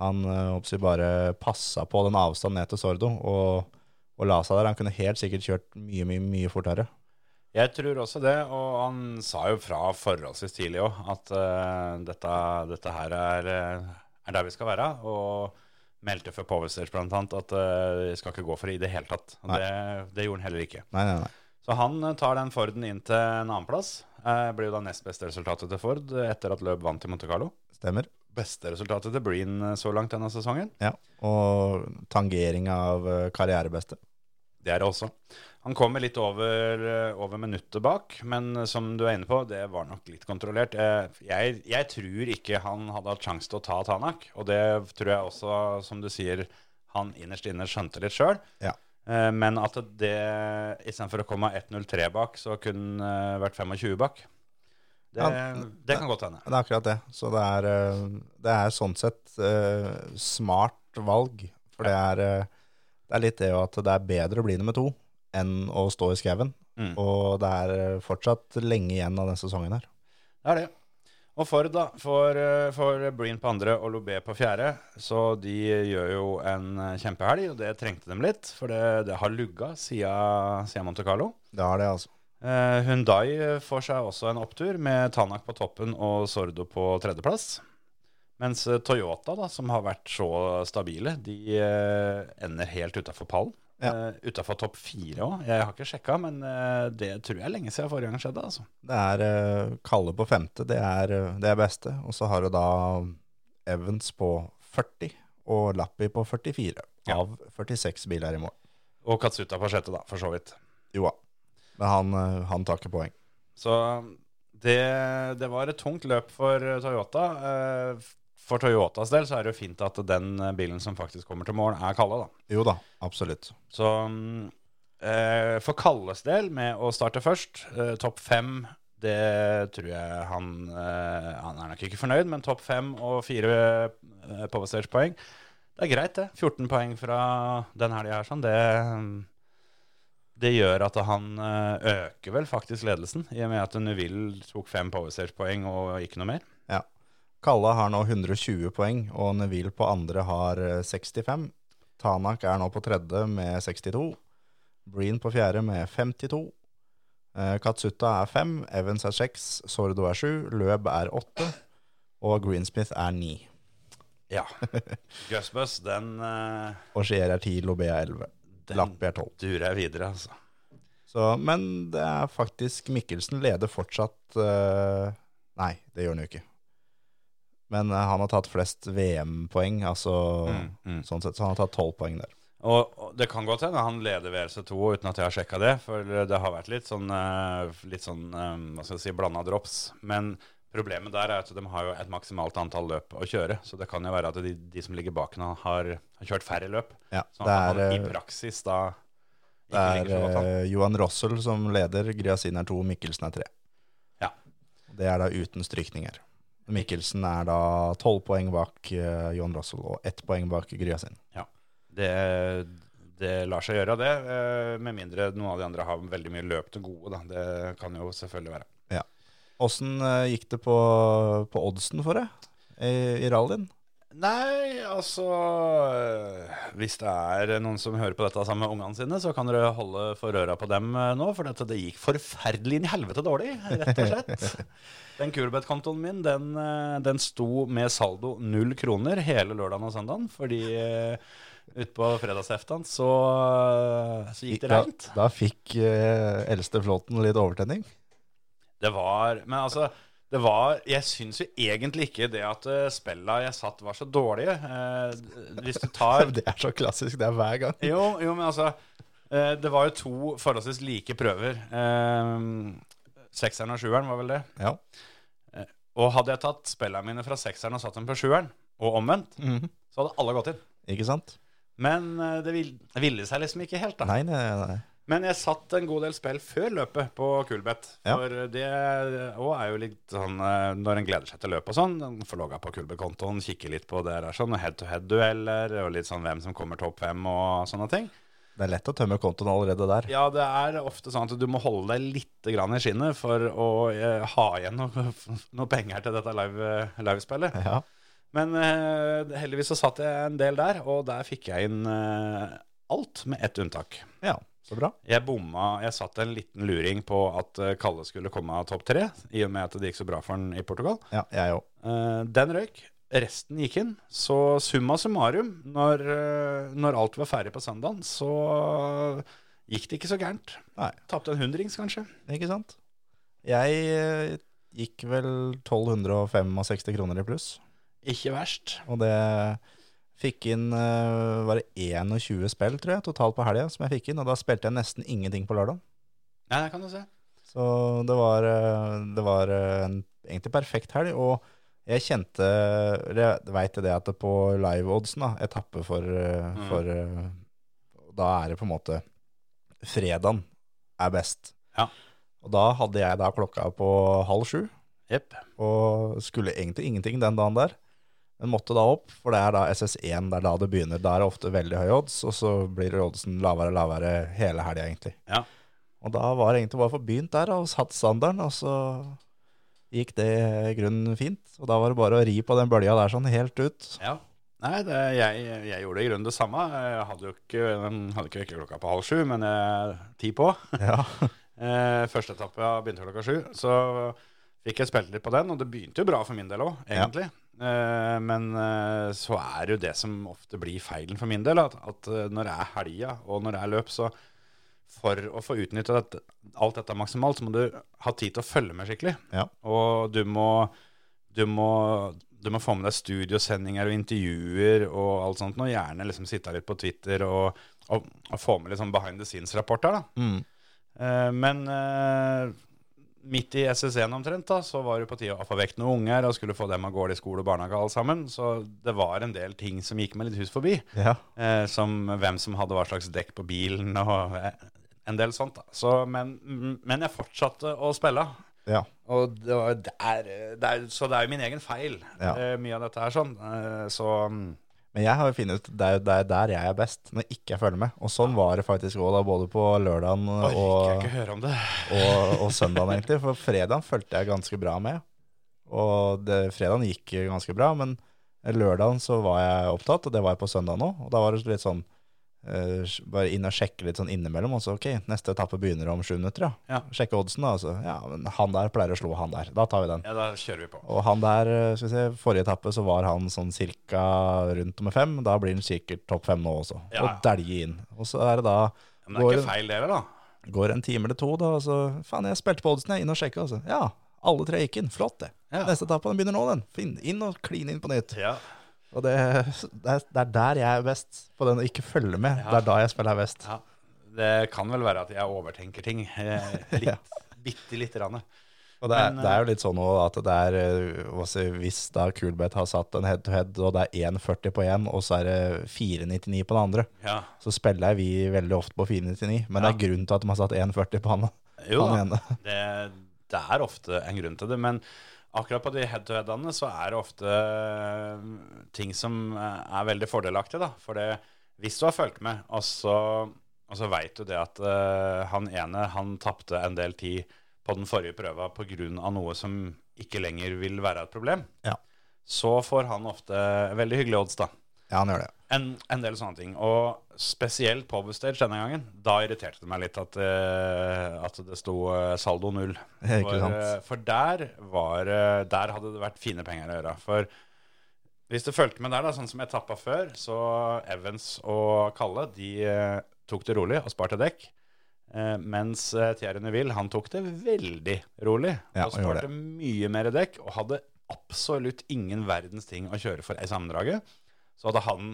D: han eh, håper jeg, bare passa på den avstanden ned til Sordo, og, og la seg der. Han kunne helt sikkert kjørt mye, mye, mye fortere.
C: Jeg tror også det, og han sa jo fra forholdsvis tidlig òg at eh, dette, dette her er, eh, er der vi skal være. Og meldte før Povesters blant annet at eh, vi skal ikke gå for det i det hele tatt. Og
D: Nei.
C: det, det gjorde han heller ikke.
D: Nei, nei, nei.
C: Så han eh, tar den Forden inn til en annenplass. Eh, blir jo da nest beste resultatet til Ford eh, etter at Løb vant i Monte Carlo.
D: Stemmer.
C: Beste resultatet til Breen eh, så langt denne sesongen.
D: Ja. Og tangering av eh, karrierebeste.
C: Det er det også. Han kommer litt over, eh, over minuttet bak, men eh, som du er inne på, det var nok litt kontrollert. Eh, Jeg, jeg tror ikke han hadde hatt sjanse til å ta Tanak, og det tror jeg også, som du sier, han innerst inne skjønte litt sjøl.
D: Ja.
C: Men at det istedenfor å komme 1.03 bak, så kunne han eh, vært 25 bak. Det,
D: Ja,
C: det kan godt hende.
D: Det er akkurat det. Så det er, eh, det er sånn sett eh, smart valg. For det er, eh, det er litt det jo at det er bedre å bli nummer to enn å stå i skauen.
C: Mm.
D: Og det er eh, fortsatt lenge igjen av denne sesongen her.
C: Det er det. Og Ford, da, for, eh, for Breen på andre og Lobé på fjerde, så de gjør jo en eh, kjempehelg, og det trengte dem litt, for det, det har lugga siden, siden Monte Carlo.
D: Det har det, altså.
C: Eh, Hyundai får seg også en opptur, med Tanak på toppen og Sordo på tredjeplass. Mens eh, Toyota, da, som har vært så stabile, de eh, ender helt utafor pallen.
D: Ja.
C: Eh, utafor topp fire òg. Jeg har ikke sjekka, men eh, det tror jeg er lenge siden forrige gang skjedde. altså.
D: Det er eh, Kalle på femte, det er, eh, det er beste. Og så har du da Evans på 40 og Lappi på 44
C: Ja.
D: av 46 biler i mål.
C: Og Katsuta på sjette, da, for så vidt.
D: Jo da. Men han, eh, han tar ikke poeng.
C: Så um, det, det var et tungt løp for uh, Toyota. Eh, For Toyotas del så er det jo fint at den uh, bilen som faktisk kommer til mål, er Kalle. da.
D: Jo da, absolutt.
C: Så mm, eh, for Kalles del, med å starte først, eh, topp fem det tror jeg han eh, Han er nok ikke fornøyd, men topp fem og fire eh, påbasert poeng. Det er greit, det. 14 poeng fra den helga her, sånn. Det, Det gjør at han eh, øker vel faktisk ledelsen, i og med at Neville tok fem powerstage-poeng og ikke noe mer.
D: Ja. Kalle har nå 120 poeng, og Neville på andre har eh, 65. Tanak er nå på tredje med 62. Breen på fjerde med 52. Eh, Katsuta er fem, Evans er seks, Sordo er sju, Løb er åtte, og Greensmith er ni.
C: Ja. Gusbus, den, eh,
D: Og Skier er ti, Lobea er elleve.
C: den
D: Lappi er tolv.
C: durer jeg videre, altså.
D: Så, men det er faktisk Mikkelsen leder fortsatt eh, Nei, det gjør han jo ikke. Men eh, han har tatt flest VM-poeng, altså
C: Mm, mm.
D: sånn sett. Så han har tatt tolv poeng der.
C: Og, og det kan godt hende han leder VRC2 uten at jeg har sjekka det, for det har vært litt sånn, eh, litt sånn eh, hva skal jeg si, blanda drops. Men problemet der er at de har jo et maksimalt antall løp å kjøre. Så det kan jo være at de, de som ligger bak nå, har, har kjørt færre løp.
D: Ja,
C: Sånn
D: det
C: at
D: er,
C: han i
D: eh,
C: praksis da
D: det
C: ikke
D: er
C: ligger så godt an.
D: eh, Johan Rossel som leder, Gryasin er to, Mikkelsen er tre.
C: Ja.
D: Det er da uten strykninger. Mikkelsen er da tolv poeng bak eh, Johan Rossel og ett poeng bak Gryasin. eh,
C: Det, det lar seg gjøre, det. eh, Med mindre noen av de andre har veldig mye løp til gode, da. Det kan jo selvfølgelig være.
D: Åssen eh, gikk det på, på oddsen for deg i, i rallyen?
C: Nei, altså øh, Hvis det er noen som hører på dette sammen med ungene sine, så kan dere holde for øra på dem øh, nå, for dette, det gikk forferdelig inn i helvete dårlig, rett og slett. Den Kulbeth-kontoen min, den, øh, den sto med saldo null kroner hele lørdagen og søndagen, fordi øh, utpå fredagseftan så, øh, så gikk det rent.
D: Da, da fikk eh, eldste flåten litt overtenning.
C: Det var Men altså, det var Jeg syns jo egentlig ikke det at uh, spella jeg satt, var så dårlige. Eh, hvis du tar
D: [laughs] Det er så klassisk, det er hver gang.
C: Jo, jo, men altså eh, Det var jo to forholdsvis like prøver. Eh, Sekseren og sjueren, var vel det.
D: Ja.
C: Og hadde jeg tatt spillene mine fra sekseren og satt dem på sjueren, og omvendt, så hadde alle gått inn.
D: Ikke sant?
C: Men eh, det vil- det ville seg liksom ikke helt, da.
D: Nei, nei, nei.
C: Men jeg satt en god del spill før løpet på Kulbeth.
D: Ja.
C: For det òg er jo litt sånn eh, når en gleder seg til løpet og sånn. en Får logga på Kulbeth-kontoen, kikker litt på det der sånn, og head-to-head-dueller og litt sånn hvem som kommer topp fem og sånne ting.
D: Det er lett å tømme kontoen allerede der.
C: Ja, det er ofte sånn at du må holde deg litt grann i skinnet for å eh, ha igjen noe, [laughs] noe penger til dette live, livespillet.
D: Ja.
C: Men eh, heldigvis så satt jeg en del der, og der fikk jeg inn eh, alt med ett unntak.
D: ja, så bra.
C: Jeg bomma, jeg satt en liten luring på at eh, Kalle skulle komme av topp tre, i og med at det gikk så bra for han i Portugal.
D: Ja, jeg òg.
C: Eh, den røyk, resten gikk inn. Så summa summarum, når, eh, når alt var ferdig på søndagen, så gikk det ikke så gærent.
D: Nei.
C: Tapte en hundrings, kanskje.
D: Ikke sant? Jeg eh, gikk vel 1265 kroner i pluss,
C: Ikke verst.
D: og det fikk inn eh, var det 21 spill, tror jeg, totalt på helga som jeg fikk inn, og da spilte jeg nesten ingenting på lørdag.
C: Ja, det kan du se.
D: Så det var, eh, det var eh, en egentlig perfekt helg, og jeg kjente, eller jeg vet det at det på live-oddsen da, etappe for, eh,
C: Mm.
D: for eh, da er det på en måte fredagen er best.
C: Ja.
D: Og da hadde jeg da klokka på halv sju,
C: Jepp.
D: og skulle egentlig ingenting den dagen der. Men måtte da opp, for det er da SS1, det er da det begynner. Da er det ofte veldig høy odds, og så blir oddsen lavere og lavere hele helga, egentlig.
C: Ja.
D: Og da var det egentlig bare for begynt der, og satt standarden, og så gikk det i grunnen fint. Og da var det bare å ri på den bølja der sånn helt
C: [laughs]
D: ut.
C: Ja. Nei, det, jeg, jeg gjorde i grunnen det samme. Jeg hadde jo ikke, hadde ikke vekkerklokka på halv sju, men eh, ti på.
D: Ja,
C: Eh, første etappe begynte klokka sju, så fikk jeg spilt litt på den, og det begynte jo bra for min del òg, egentlig. Eh, men eh, så er det jo det som ofte blir feilen for min del, at, at eh, når det er helga og når det er løp, så for å få utnytta dette, alt dette maksimalt, så må du ha tid til å følge med skikkelig.
D: Ja.
C: Og du må, du, må, du må få med deg studiosendinger og intervjuer og alt sånt, og gjerne liksom sitte litt på Twitter og, og, og få med litt sånn behind the scenes-rapporter. da.
D: mm.
C: Eh, Men eh, midt i SS1 omtrent da, så var det på tide å få vekk noen unger og skulle få dem av gårde i skole og barnehage og alt sammen. Så det var en del ting som gikk meg litt hus forbi.
D: ja.
C: eh, Som hvem som hadde hva slags dekk på bilen og eh, en del sånt. da. Så, men, men jeg fortsatte å spille.
D: ja.
C: Og det var der, eh, det er- så det er jo min egen feil,
D: Ja.
C: eh, mye av dette her sånn. Eh, Så mm,
D: Men jeg har jo funnet ut det er jo der, der jeg er best, når ikke jeg følger med. Og sånn var det faktisk òg, både på lørdagen
C: Orker jeg
D: og,
C: ikke høre om det.
D: og, og søndagen, egentlig. For fredagen fulgte jeg ganske bra med. Og det, fredagen gikk ganske bra, men lørdagen så var jeg opptatt, og det var jeg på søndagen òg. Og da var det litt sånn eh, sj- Bare inn og sjekke litt sånn innimellom, og så ok, neste etappe begynner om sju minutter, ja.
C: Ja.
D: Sjekke oddsen, da. og så, ja, men han der pleier å slå han der. Da tar vi den.
C: Ja, da kjører vi på.
D: Og han der, eh, skal vi se, forrige etappe så var han sånn cirka rundt nummer fem. Da blir han sikkert topp fem nå også.
C: Ja, ja.
D: Og dælje inn. Og så er det da
C: Men det er
D: går-
C: ikke feil det heller, da.
D: Går en time eller to, da, og så Faen, jeg spilte på oddsen, jeg. Inn og sjekke, altså. Ja, alle tre gikk inn. Flott, det.
C: Ja.
D: Neste etappe, den begynner nå, den. Finn, inn og kline inn på nytt.
C: Ja.
D: Og det, det, er, det er der jeg er best, på den å ikke følge med.
C: Ja.
D: Det er da jeg spiller best.
C: ja. Det kan vel være at jeg overtenker ting.
D: [laughs]
C: eh,
D: Ja.
C: Litt, bitte lite grann.
D: Og det er,
C: Men, eh,
D: det er jo litt sånn også at det er eh, hva si, Hvis da Kulbeth har satt en head-to-head, og det er 1,40 på én, og så er det 4,99 på den andre,
C: Ja.
D: så spiller vi veldig ofte på 4,99. Men det er grunnen til at de har satt 1,40 på han,
C: Jo
D: han
C: da,
D: ene.
C: det, det er ofte en grunn til det. Men akkurat på de head-to-headene så er det ofte eh, ting som eh, er veldig fordelaktige. Da. For det, hvis du har fulgt med, og så, og så veit du det at eh, han ene han tapte en del tid på den forrige prøva pga. noe som ikke lenger vil være et problem,
D: Ja.
C: så får han ofte veldig hyggelige odds, da.
D: Ja, han gjør det. [laughs]
C: En, en del sånne ting. Og spesielt på Overstage denne gangen. Da irriterte det meg litt at, eh, at det sto eh, saldo null.
D: Ikke
C: For,
D: sant?
C: eh, for der, var, eh, der hadde det vært fine penger å gjøre. For hvis du fulgte med der, da, sånn som etappa før, så Evans og Kalle de eh, tok det rolig og sparte dekk. Eh, mens eh, Thierry Neville han tok det veldig rolig
D: Ja,
C: og
D: han gjorde
C: sparte mye mer dekk. Og hadde absolutt ingen verdens ting å kjøre for i sammendraget. Så hadde han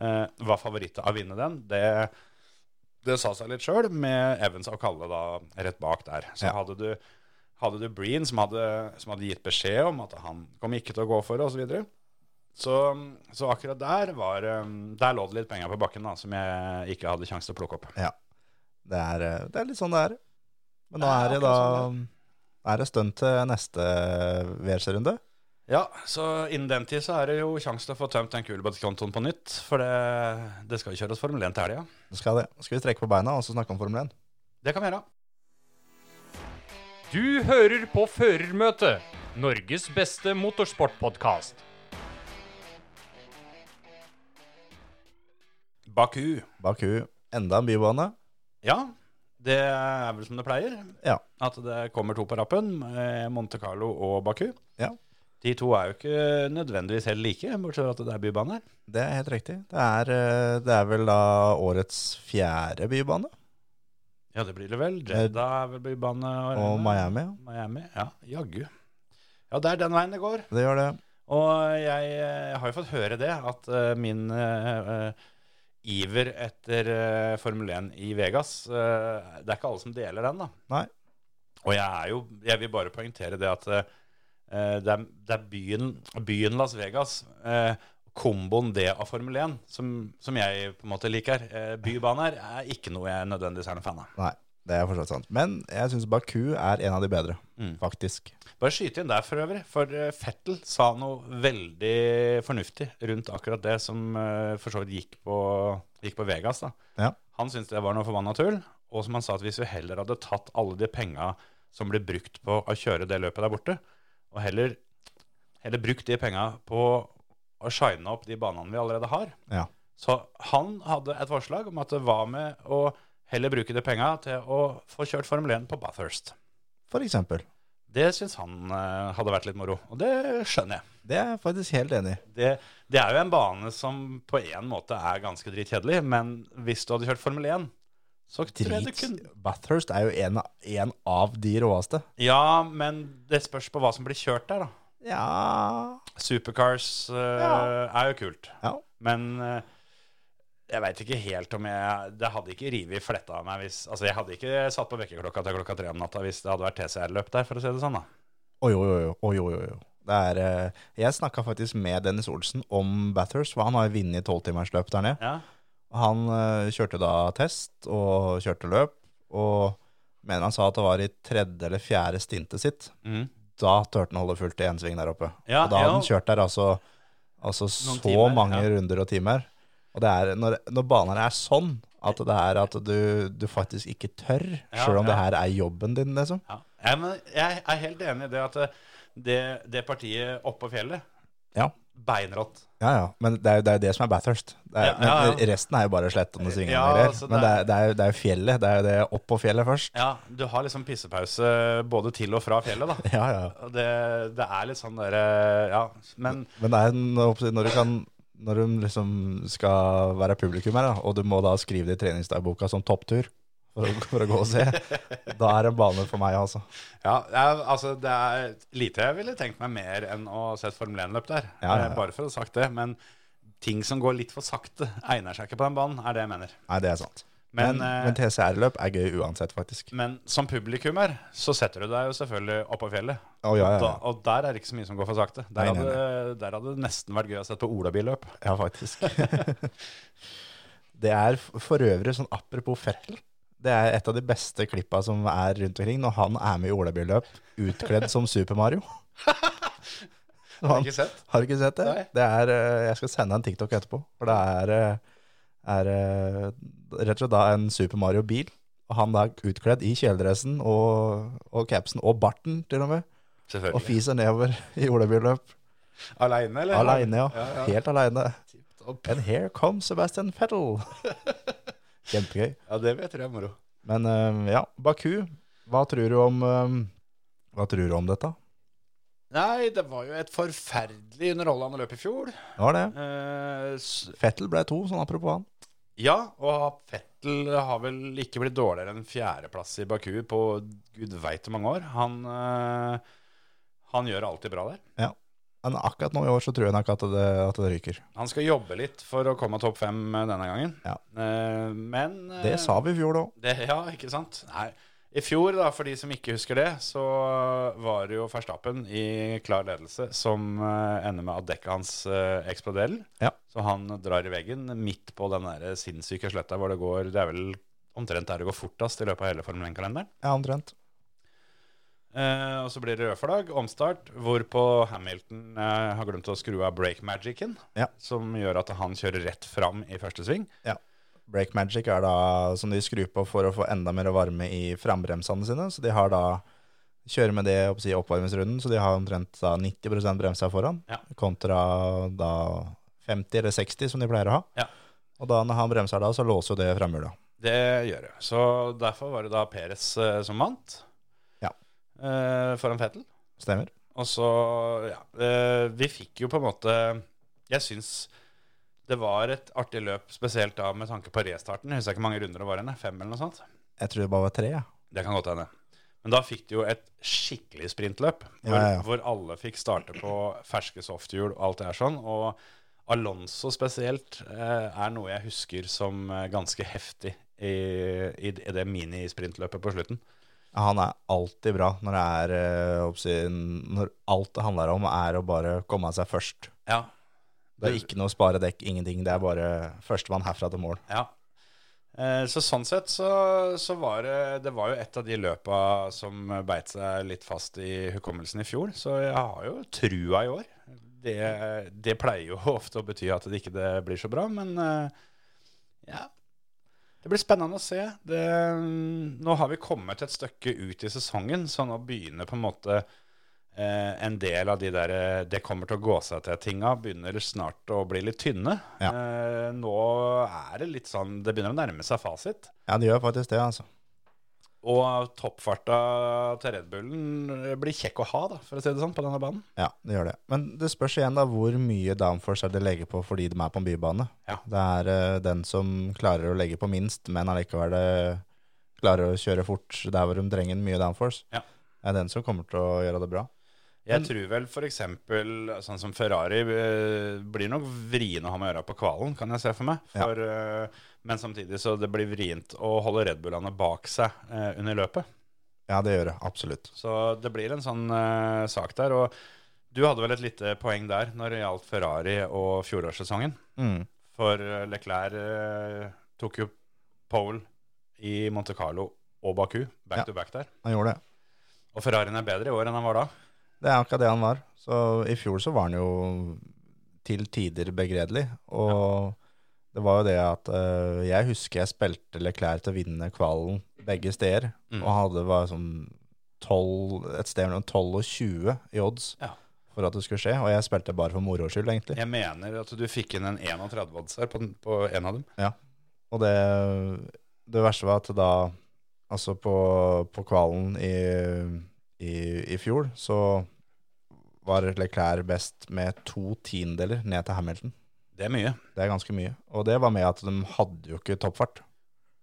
C: eh, var favoritt av å vinne den. Det, det sa seg litt sjøl, med Evans og Kalle da rett bak der. Så
D: Ja.
C: hadde du hadde du Breen, som hadde, som hadde gitt beskjed om at han kom ikke til å gå for det, osv. Så, videre. så Så akkurat der var um, Der lå det litt penger på bakken da, som jeg ikke hadde sjanse til å plukke opp.
D: Det er, eh, det er litt sånn det er. Men nå
C: Det er
D: er det da
C: akkurat sånn
D: er det stund til neste VRC-runde.
C: Ja, så innen den tid så er det jo sjanse til å få tømt den kulebåtkontoen på nytt. For det, det skal jo kjøres Formel 1 til helga.
D: Nå skal, det- skal vi strekke på beina og så snakke om Formel 1.
C: Det kan vi gjøre.
E: Du hører på Førermøtet, Norges beste motorsportpodkast.
C: Baku.
D: Baku, enda en bybane.
C: Ja, det er vel som det pleier.
D: Ja.
C: At det kommer to på rappen. eh, Monte Carlo og Baku.
D: Ja.
C: De to er jo ikke nødvendigvis helt like, bortsett fra at det er bybane her.
D: Det er helt riktig. Det er, eh, det er vel da årets fjerde bybane.
C: Ja, det blir det vel. Jeddah er vel bybane.
D: Og Miami. ja.
C: Miami, ja. Jaggu. Ja, det er den veien det går.
D: Det gjør det.
C: Og jeg eh, har jo fått høre det, at eh, min eh, eh, iver etter eh, Formel 1 i Vegas eh, Det er ikke alle som deler den, da.
D: Nei.
C: Og jeg er jo Jeg vil bare poengtere det at eh, det er, det er byen, byen Las Vegas, eh, komboen det av Formel 1, som, som jeg på en måte liker. Eh, bybaner er ikke noe jeg nødvendigvis er noen fan av.
D: Nei, det er fortsatt sant. Men jeg syns Baku er en av de bedre,
C: Mm.
D: faktisk.
C: Bare skyte inn der for øvrig, for eh, Fettel sa noe veldig fornuftig rundt akkurat det som eh, for så vidt gikk på, gikk på Vegas. da.
D: Ja.
C: Han syntes det var noe forbanna tull, og som han sa at hvis vi heller hadde tatt alle de penga som ble brukt på å kjøre det løpet der borte, og heller, heller brukt de penga på å shine opp de banene vi allerede har
D: Ja.
C: Så han hadde et forslag om at det var med å heller bruke de penga til å få kjørt Formel 1 på Bathurst.
D: For eksempel.
C: Det syns han eh, hadde vært litt moro, og det skjønner jeg.
D: Det er jeg faktisk helt enig i.
C: Det, det er jo en bane som på en måte er ganske dritkjedelig, men hvis du hadde kjørt Formel 1, så tror jeg du
D: Drit.
C: kunne
D: Bathurst er jo en, av- en av de råeste.
C: Ja, men det spørs på hva som blir kjørt der, da.
D: Ja
C: Supercars eh, er jo kult,
D: Ja.
C: men eh, jeg veit ikke helt om jeg Det hadde ikke revet fletta av meg hvis Altså, jeg hadde ikke satt på vekkerklokka til klokka tre om natta hvis det hadde vært TCR-løp der, for å si det sånn, da.
D: Oi, oi, oi, oi, oi, oi, oi. Det er, eh, jeg snakka faktisk med Dennis Olsen om Bathurst, for han har jo vunnet tolvtimersløp der nede.
C: Ja.
D: Han eh, kjørte da test og kjørte løp, og mener han sa at det var i tredje eller fjerde stintet sitt.
C: Mm.
D: Da turte han holde fullt i én sving der oppe.
C: Ja,
D: og da hadde
C: ja.
D: han kjørt der altså Altså så
F: timer,
D: mange
F: ja.
D: runder og timer. Og det er, når, når banene er sånn at det er at du, du faktisk ikke tør,
C: Ja,
D: sjøl om det
C: ja.
D: her er jobben din, liksom.
C: Ja. Jeg, men jeg er helt enig i det at det, det partiet oppå fjellet
D: Ja.
C: Beinrått.
D: Ja, ja. Men det er jo det, er jo det som er Bathurst. Det er,
C: Ja, ja, ja.
D: Men resten er jo bare slettende svingende
C: Ja,
D: greier.
C: altså, det
D: men det
C: er-
D: er, det, er, jo- det er jo fjellet. Det er jo det opp på fjellet først.
C: Ja, du har liksom pissepause både til og fra fjellet, da.
D: Ja, ja.
C: Og Det, det er litt sånn derre Ja, men
D: Men det er en, når du kan når du liksom skal være publikum her, da, og du må da skrive det i treningsdagboka som topptur for å, for å gå og se, da er det en bane for meg, altså.
C: Ja, det er, altså det er lite jeg ville tenkt meg mer enn å se et Formel 1-løp der.
D: Ja, ja, ja.
C: Eh, Bare for å ha sagt det. Men ting som går litt for sakte, egner seg ikke på den banen, er det jeg mener.
D: Nei, det er sant.
C: Men,
D: Men, men,
C: eh,
D: TCR-løp er gøy uansett, faktisk.
C: Men som publikummer så setter du deg jo selvfølgelig oppå fjellet.
D: Å, ja, ja,
C: Da,
D: ja.
C: og der er det ikke så mye som går for sakte. Der
D: Nei, nei,
C: hadde, der hadde det nesten vært gøy å sette på olabilløp.
D: Ja, faktisk. det er f- for øvrig sånn apropos Fettel. Det er et av de beste klippa som er rundt omkring når han er med i olabyløp utkledd som Super Mario.
C: [laughs] Har du ikke sett?
D: Har du ikke sett det?
C: Nei.
D: det er, eh, jeg skal sende en TikTok etterpå. For det er, eh, er eh, rett og slett da en Super Mario-bil. Og han da utkledd i kjeledressen og, og capsen og barten, til og med.
C: [laughs]
D: Og
C: Selvfølgelig.
D: fiser nedover i olabyløp.
C: Aleine, eller?
D: Aleine, ja.
C: ja, ja.
D: Helt aleine. And here comes Sebastian [laughs] Fettel. Kjempegøy.
C: Ja, det vet jeg er moro.
D: Men eh, ja, Baku, hva tror du om eh, Hva tror du om dette?
C: Nei, det var jo et forferdelig underholdende løp i fjor.
D: Det var det.
C: Eh, s-
D: Fettel ble to, sånn apropos han.
C: Ja, og Fettel har vel ikke blitt dårligere enn fjerdeplass i Baku på gud veit hvor mange år. Han, eh, han gjør alltid bra der.
D: Men akkurat nå i år så tror jeg nok at det, at det ryker.
C: Han skal jobbe litt for å komme topp fem eh, denne gangen.
D: Ja.
C: Eh, men eh,
D: Det sa vi i fjor òg.
C: det, Ja, ikke sant? Nei. I fjor, da, for de som ikke husker det, så var det jo Verstappen i klar ledelse som eh, ender med at dekket hans eh, eksploderer.
D: Ja.
C: Så han drar i veggen midt på den der sinnssyke sletta hvor det går Det er vel omtrent der det går fortest i løpet av hele Formel 1-kalenderen.
D: Ja, omtrent.
C: Eh, og så blir det rødflagg, omstart, hvorpå Hamilton eh, har glemt å skru av brake magicen,
D: Ja.
C: som gjør at han kjører rett fram i første sving.
D: Brake Magic er da som de skrur på for å få enda mer varme i frambremsene sine. Så de har da kjører med det jeg håper å si, i oppvarmingsrunden, så de har omtrent da 90 bremsa foran,
C: Ja.
D: kontra da 50 eller 60 som de pleier å ha.
C: Ja.
D: Og da når han bremser da, så låser jo det framhjula.
C: Det gjør det. Så derfor var det da Peres eh, som vant
D: Ja.
C: eh, foran Fettel.
D: Stemmer?
C: Og så, ja eh, Vi fikk jo på en måte Jeg syns det var et artig løp, spesielt da med tanke på restarten. Jeg husker ikke hvor mange runder det var igjen. Fem eller noe sånt?
D: Jeg tror det bare var tre, ja.
C: Det kan godt hende. Men da fikk du jo et skikkelig sprintløp, hvor,
D: Ja, ja, ja.
C: hvor alle fikk starte på ferske softhjul og alt det her sånn. Og Alonso spesielt eh, er noe jeg husker som eh, ganske heftig i, i, i det minisprinntløpet på slutten.
D: Ja, Han er alltid bra når, det er, eh, håper å si, når alt det handler om, er å bare komme seg først.
C: Ja,
D: Det er ikke noe sparedekk, ingenting. Det er bare førstemann herfra til mål.
C: Ja. Eh, Så sånn sett så, så var det Det var jo et av de løpa som beit seg litt fast i hukommelsen i fjor, så jeg har jo trua i år. Det, det pleier jo [laughs] ofte å bety at det ikke det blir så bra, men eh, ja. Det blir spennende å se. Det, mm, nå har vi kommet et stykke ut i sesongen, så nå begynner på en måte eh, en del av de der eh, 'det kommer til å gå seg til' tinga begynner snart å bli litt tynne.
D: Ja.
C: Eh, nå er det litt sånn Det begynner å nærme seg fasit.
D: Ja, det gjør faktisk det, altså.
C: Og toppfarta til Red Bullen eh, blir kjekk å ha, da, for å si det sånn, på denne banen.
D: Ja, det gjør det. Men det spørs igjen da hvor mye downforce er det legger på fordi de er på en bybane.
C: Ja.
D: Det er eh, den som klarer å legge på minst, men allikevel eh, klarer å kjøre fort der hvor de trenger mye downforce,
C: Ja.
D: er den som kommer til å gjøre det bra.
C: Jeg tror vel f.eks. sånn som Ferrari eh, blir nok vrien å ha med å gjøre på kvalen, kan jeg se for meg.
D: Ja.
C: For, eh, Men samtidig så det blir vrient å holde Red Bullene bak seg eh, under løpet.
D: Ja, det gjør det. Absolutt.
C: Så det blir en sånn eh, sak der. Og du hadde vel et lite poeng der når det gjaldt Ferrari og fjorårssesongen.
D: Mm.
C: For eh, Leclerc eh, tok jo pole i Monte Carlo og Baku, back
D: Ja.
C: to back der.
D: Han gjorde det.
C: Og Ferrarien er bedre i år enn han var da.
D: Det er akkurat det han var. Så i fjor så var han jo til tider begredelig. Og det var jo det at eh, jeg husker jeg spilte Leclerc til å vinne kvalen begge steder.
C: Mm.
D: Og hadde var sånn 12, et sted mellom 12 og 20 i odds
C: Ja.
D: for at det skulle skje. Og jeg spilte bare for moro skyld, egentlig.
C: Jeg mener at du fikk inn en 31-odds her på, den- på en av dem.
D: Og det, det verste var at da Altså på, på kvalen i, i, i fjor så var Leclerc best med to tiendedeler ned til Hamilton.
C: Det er mye.
D: Det er ganske mye. Og det var med at de hadde jo ikke toppfart.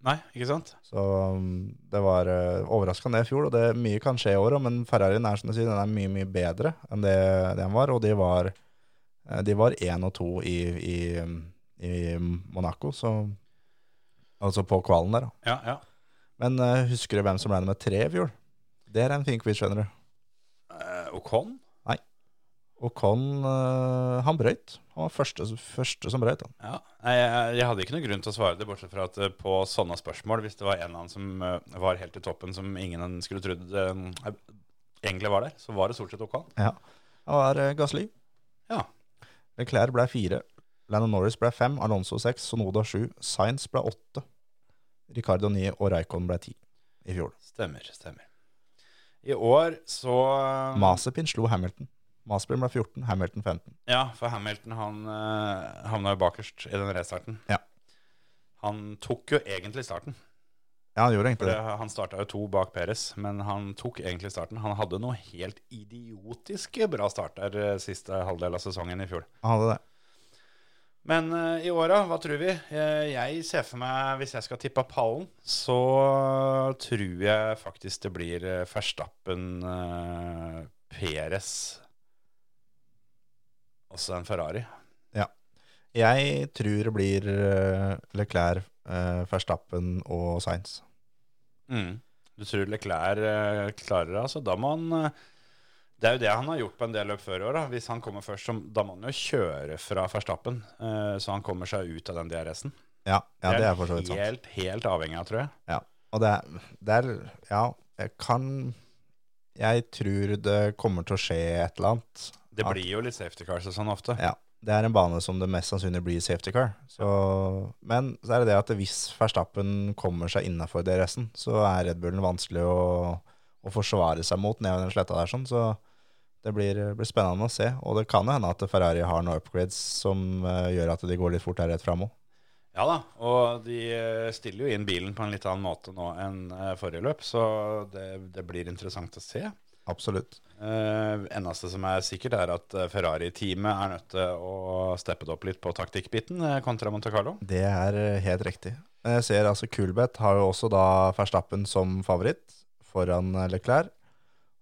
C: Nei, ikke sant?
D: Så um, det var eh, overraskende det i fjor, og det, mye kan skje i år òg, men Ferrarien er som du sier, den er mye mye bedre enn det den var, og de var eh, de var én og to i, i, um, i Monaco, så altså på kvalen der. da.
C: Ja, ja.
D: Men eh, husker du hvem som ble nummer tre i fjor? Det er en fin quiz, skjønner du.
C: Eh, Ocon?
D: Ocon, eh, han brøyt. Han var første, første som brøyt. han.
C: Ja. Nei, jeg, jeg hadde ikke noe grunn til å svare det, bortsett fra at eh, på sånne spørsmål, hvis det var en av dem som eh, var helt i toppen, som ingen skulle trodd eh, egentlig var der, så var det stort sett Ocon.
D: Han var eh, Gasly.
C: Ja.
D: Leclerc ble fire. Landon Norris ble fem. Alonso seks. Sonoda sju. Sainz ble åtte. Ricardo ni og Raikon ble ti i fjor.
C: Stemmer, stemmer. I år så
D: Mazepin slo Hamilton. Mazepin ble 14, Hamilton 15.
C: Ja, for Hamilton han eh, havna jo bakerst i den restarten.
D: Ja.
C: Han tok jo egentlig starten.
D: Ja, han gjorde
C: For
D: egentlig
C: det,
D: det.
C: han starta jo to bak Peres, men han tok egentlig starten. Han hadde noe helt idiotiske bra starter eh, siste halvdel av sesongen i fjor.
D: Han hadde det.
C: Men eh, i åra, hva tror vi? Eh, jeg ser for meg, hvis jeg skal tippe pallen, så tror jeg faktisk det blir uh, Verstappen, uh, Peres Også en Ferrari.
D: Jeg tror det blir eh, Leclerc, eh, Verstappen og Sainz.
C: Mm. Du tror Leclerc eh, klarer det, altså. Da må han eh, Det er jo det han har gjort på en del løp før i år. da. Hvis han kommer først, så da må han jo kjøre fra Verstappen, eh, så han kommer seg ut av den DRS-en.
D: Ja, ja, det er for så vidt sant.
C: Helt, helt avhengig av, tror jeg.
D: Ja, og det er, det er Ja, jeg kan Jeg tror det kommer til å skje et eller annet.
C: Det
D: Ja.
C: blir jo litt safety cars og sånn ofte.
D: Ja, det er en bane som det mest sannsynlig blir safety car. Så, men så er det det at hvis Verstappen kommer seg innafor DRS-en, så er Red Bullen vanskelig å, å forsvare seg mot nedover den sletta der. sånn, Så det blir, blir spennende å se. Og det kan jo hende at Ferrari har noen upgrades som eh, gjør at de går litt fort her rett fram òg.
C: Ja da, og de eh, stiller jo inn bilen på en litt annen måte nå enn eh, forrige løp, så det, det blir interessant å se.
D: Absolutt.
C: Uh, eneste som er sikkert, er at eh, Ferrari-teamet er nødt til å steppe det opp litt på taktikkbiten eh, kontra Monte Carlo.
D: Det er eh, helt riktig. Men Jeg ser altså Kulbeth har jo også da Verstappen som favoritt foran eh, Leclerc.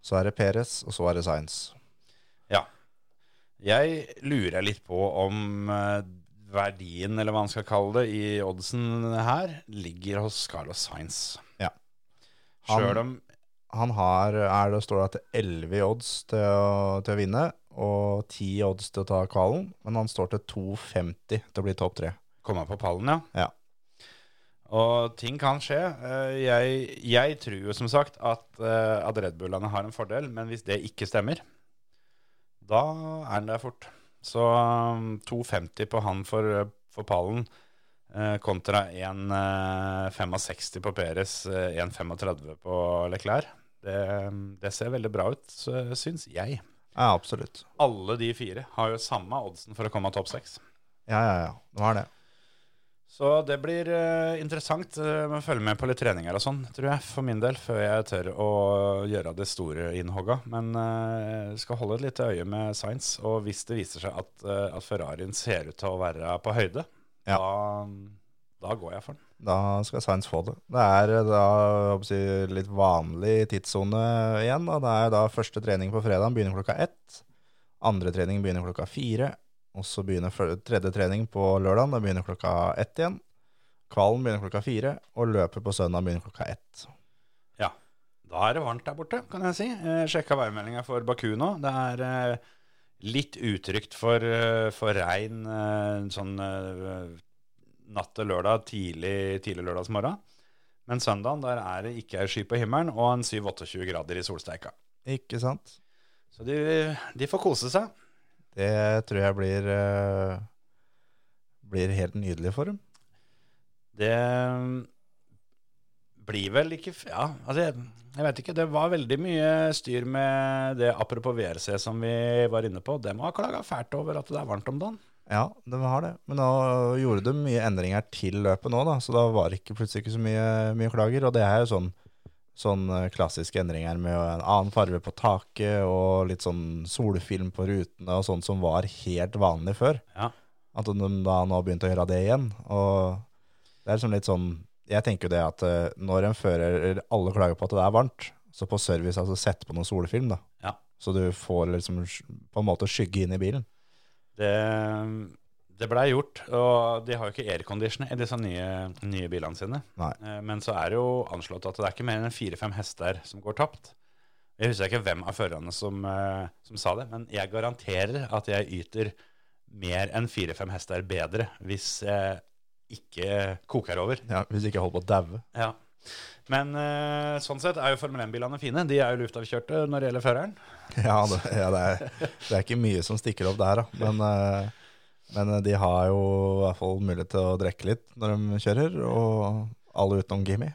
D: Så er det Perez, og så er det Sainz.
C: Jeg lurer litt på om eh, verdien, eller hva man skal kalle det, i oddsen her, ligger hos Carlos Sainz.
D: Ja.
C: Sjøl om
D: Han har, er det står det at 11 i odds til å, til å vinne, og 10 i odds til å ta kvalen, men han står til 2,50 til å bli topp 3.
C: Komme på pallen, ja.
D: Ja.
C: Og ting kan skje. Eh, Jeg, jeg tror jo som sagt at, eh, at Red Bullene har en fordel, men hvis det ikke stemmer, da er den der fort. Så um, 2,50 på han for, for pallen eh, kontra 1,65 på Peres, 1,35 på Leclerc. Det, det ser veldig bra ut, så syns jeg.
D: Ja, absolutt.
C: Alle de fire har jo samme oddsen for å komme topp seks.
D: Ja, ja, ja. De har det.
C: Så det blir eh, interessant eh, å følge med på litt treninger og sånn, tror jeg, for min del, før jeg tør å gjøre det store innhogga. Men eh, skal holde et lite øye med Science, og hvis det viser seg at, eh, at Ferrarien ser ut til å være på høyde,
D: Ja.
C: da, da går jeg for den.
D: Da skal Sainz få det. Det er eh, da jeg håper å si, litt vanlig tidssone igjen. Da. Det er da første trening på fredag begynner klokka ett. Andre trening begynner klokka fire. Og så begynner fø- tredje trening på lørdag. Da begynner klokka ett igjen. Kvalen begynner klokka fire, og løpet på søndag begynner klokka ett.
C: Da er det varmt der borte, kan jeg si. Eh, sjekka værmeldinga for Baku nå. Det er eh, litt utrygt for, eh, for regn eh, sånn eh, natt til lørdag, tidlig, tidlig lørdagsmorgen. Men søndagen der er det ikke ei sky på himmelen og en 7-28 grader i solsteika.
D: Ikke sant?
C: Så de, de får kose seg.
D: Det tror jeg blir, eh, blir helt nydelig for dem.
C: Det mm, blir vel ikke f- Ja, altså jeg, jeg vet ikke. Det var veldig mye styr med det apropos VRC som vi var inne på. Det må ha klaga fælt over at det er varmt om dagen.
D: Ja, de har det. Men nå gjorde de mye endringer til løpet nå, da, så da var det ikke, plutselig ikke så mye, mye klager. Og det er jo sånn, sånn eh, klassiske endringer med en annen farge på taket og litt sånn solfilm på rutene og sånt som var helt vanlig før.
C: Ja.
D: At de da nå har begynt å gjøre det igjen. Og det er liksom litt sånn Jeg tenker jo det at eh, når en fører alle klager på at det er varmt, så på service altså sett på noe solfilm, da.
C: Ja.
D: Så du får liksom sk- på en måte skygge inn i bilen.
C: Det, det blei gjort. Og de har jo ikke aircondition i disse nye, nye bilene sine.
D: Nei.
C: Eh, Men så er det jo anslått at det er ikke mer enn fire-fem hester som går tapt. Jeg husker ikke hvem av førerne som, eh, som sa det, men jeg garanterer at jeg yter mer enn fire-fem hester bedre hvis jeg ikke koker over.
D: Ja, hvis ikke jeg holder på å daue.
C: Ja. Men eh, sånn sett er jo Formel 1-bilene fine. De er jo luftavkjørte når det gjelder føreren.
D: [laughs] Ja, det, ja det, er, det er ikke mye som stikker opp der, da. Men, eh, men de har jo i hvert fall mulighet til å drikke litt når de kjører, og alle utenom Gimmi.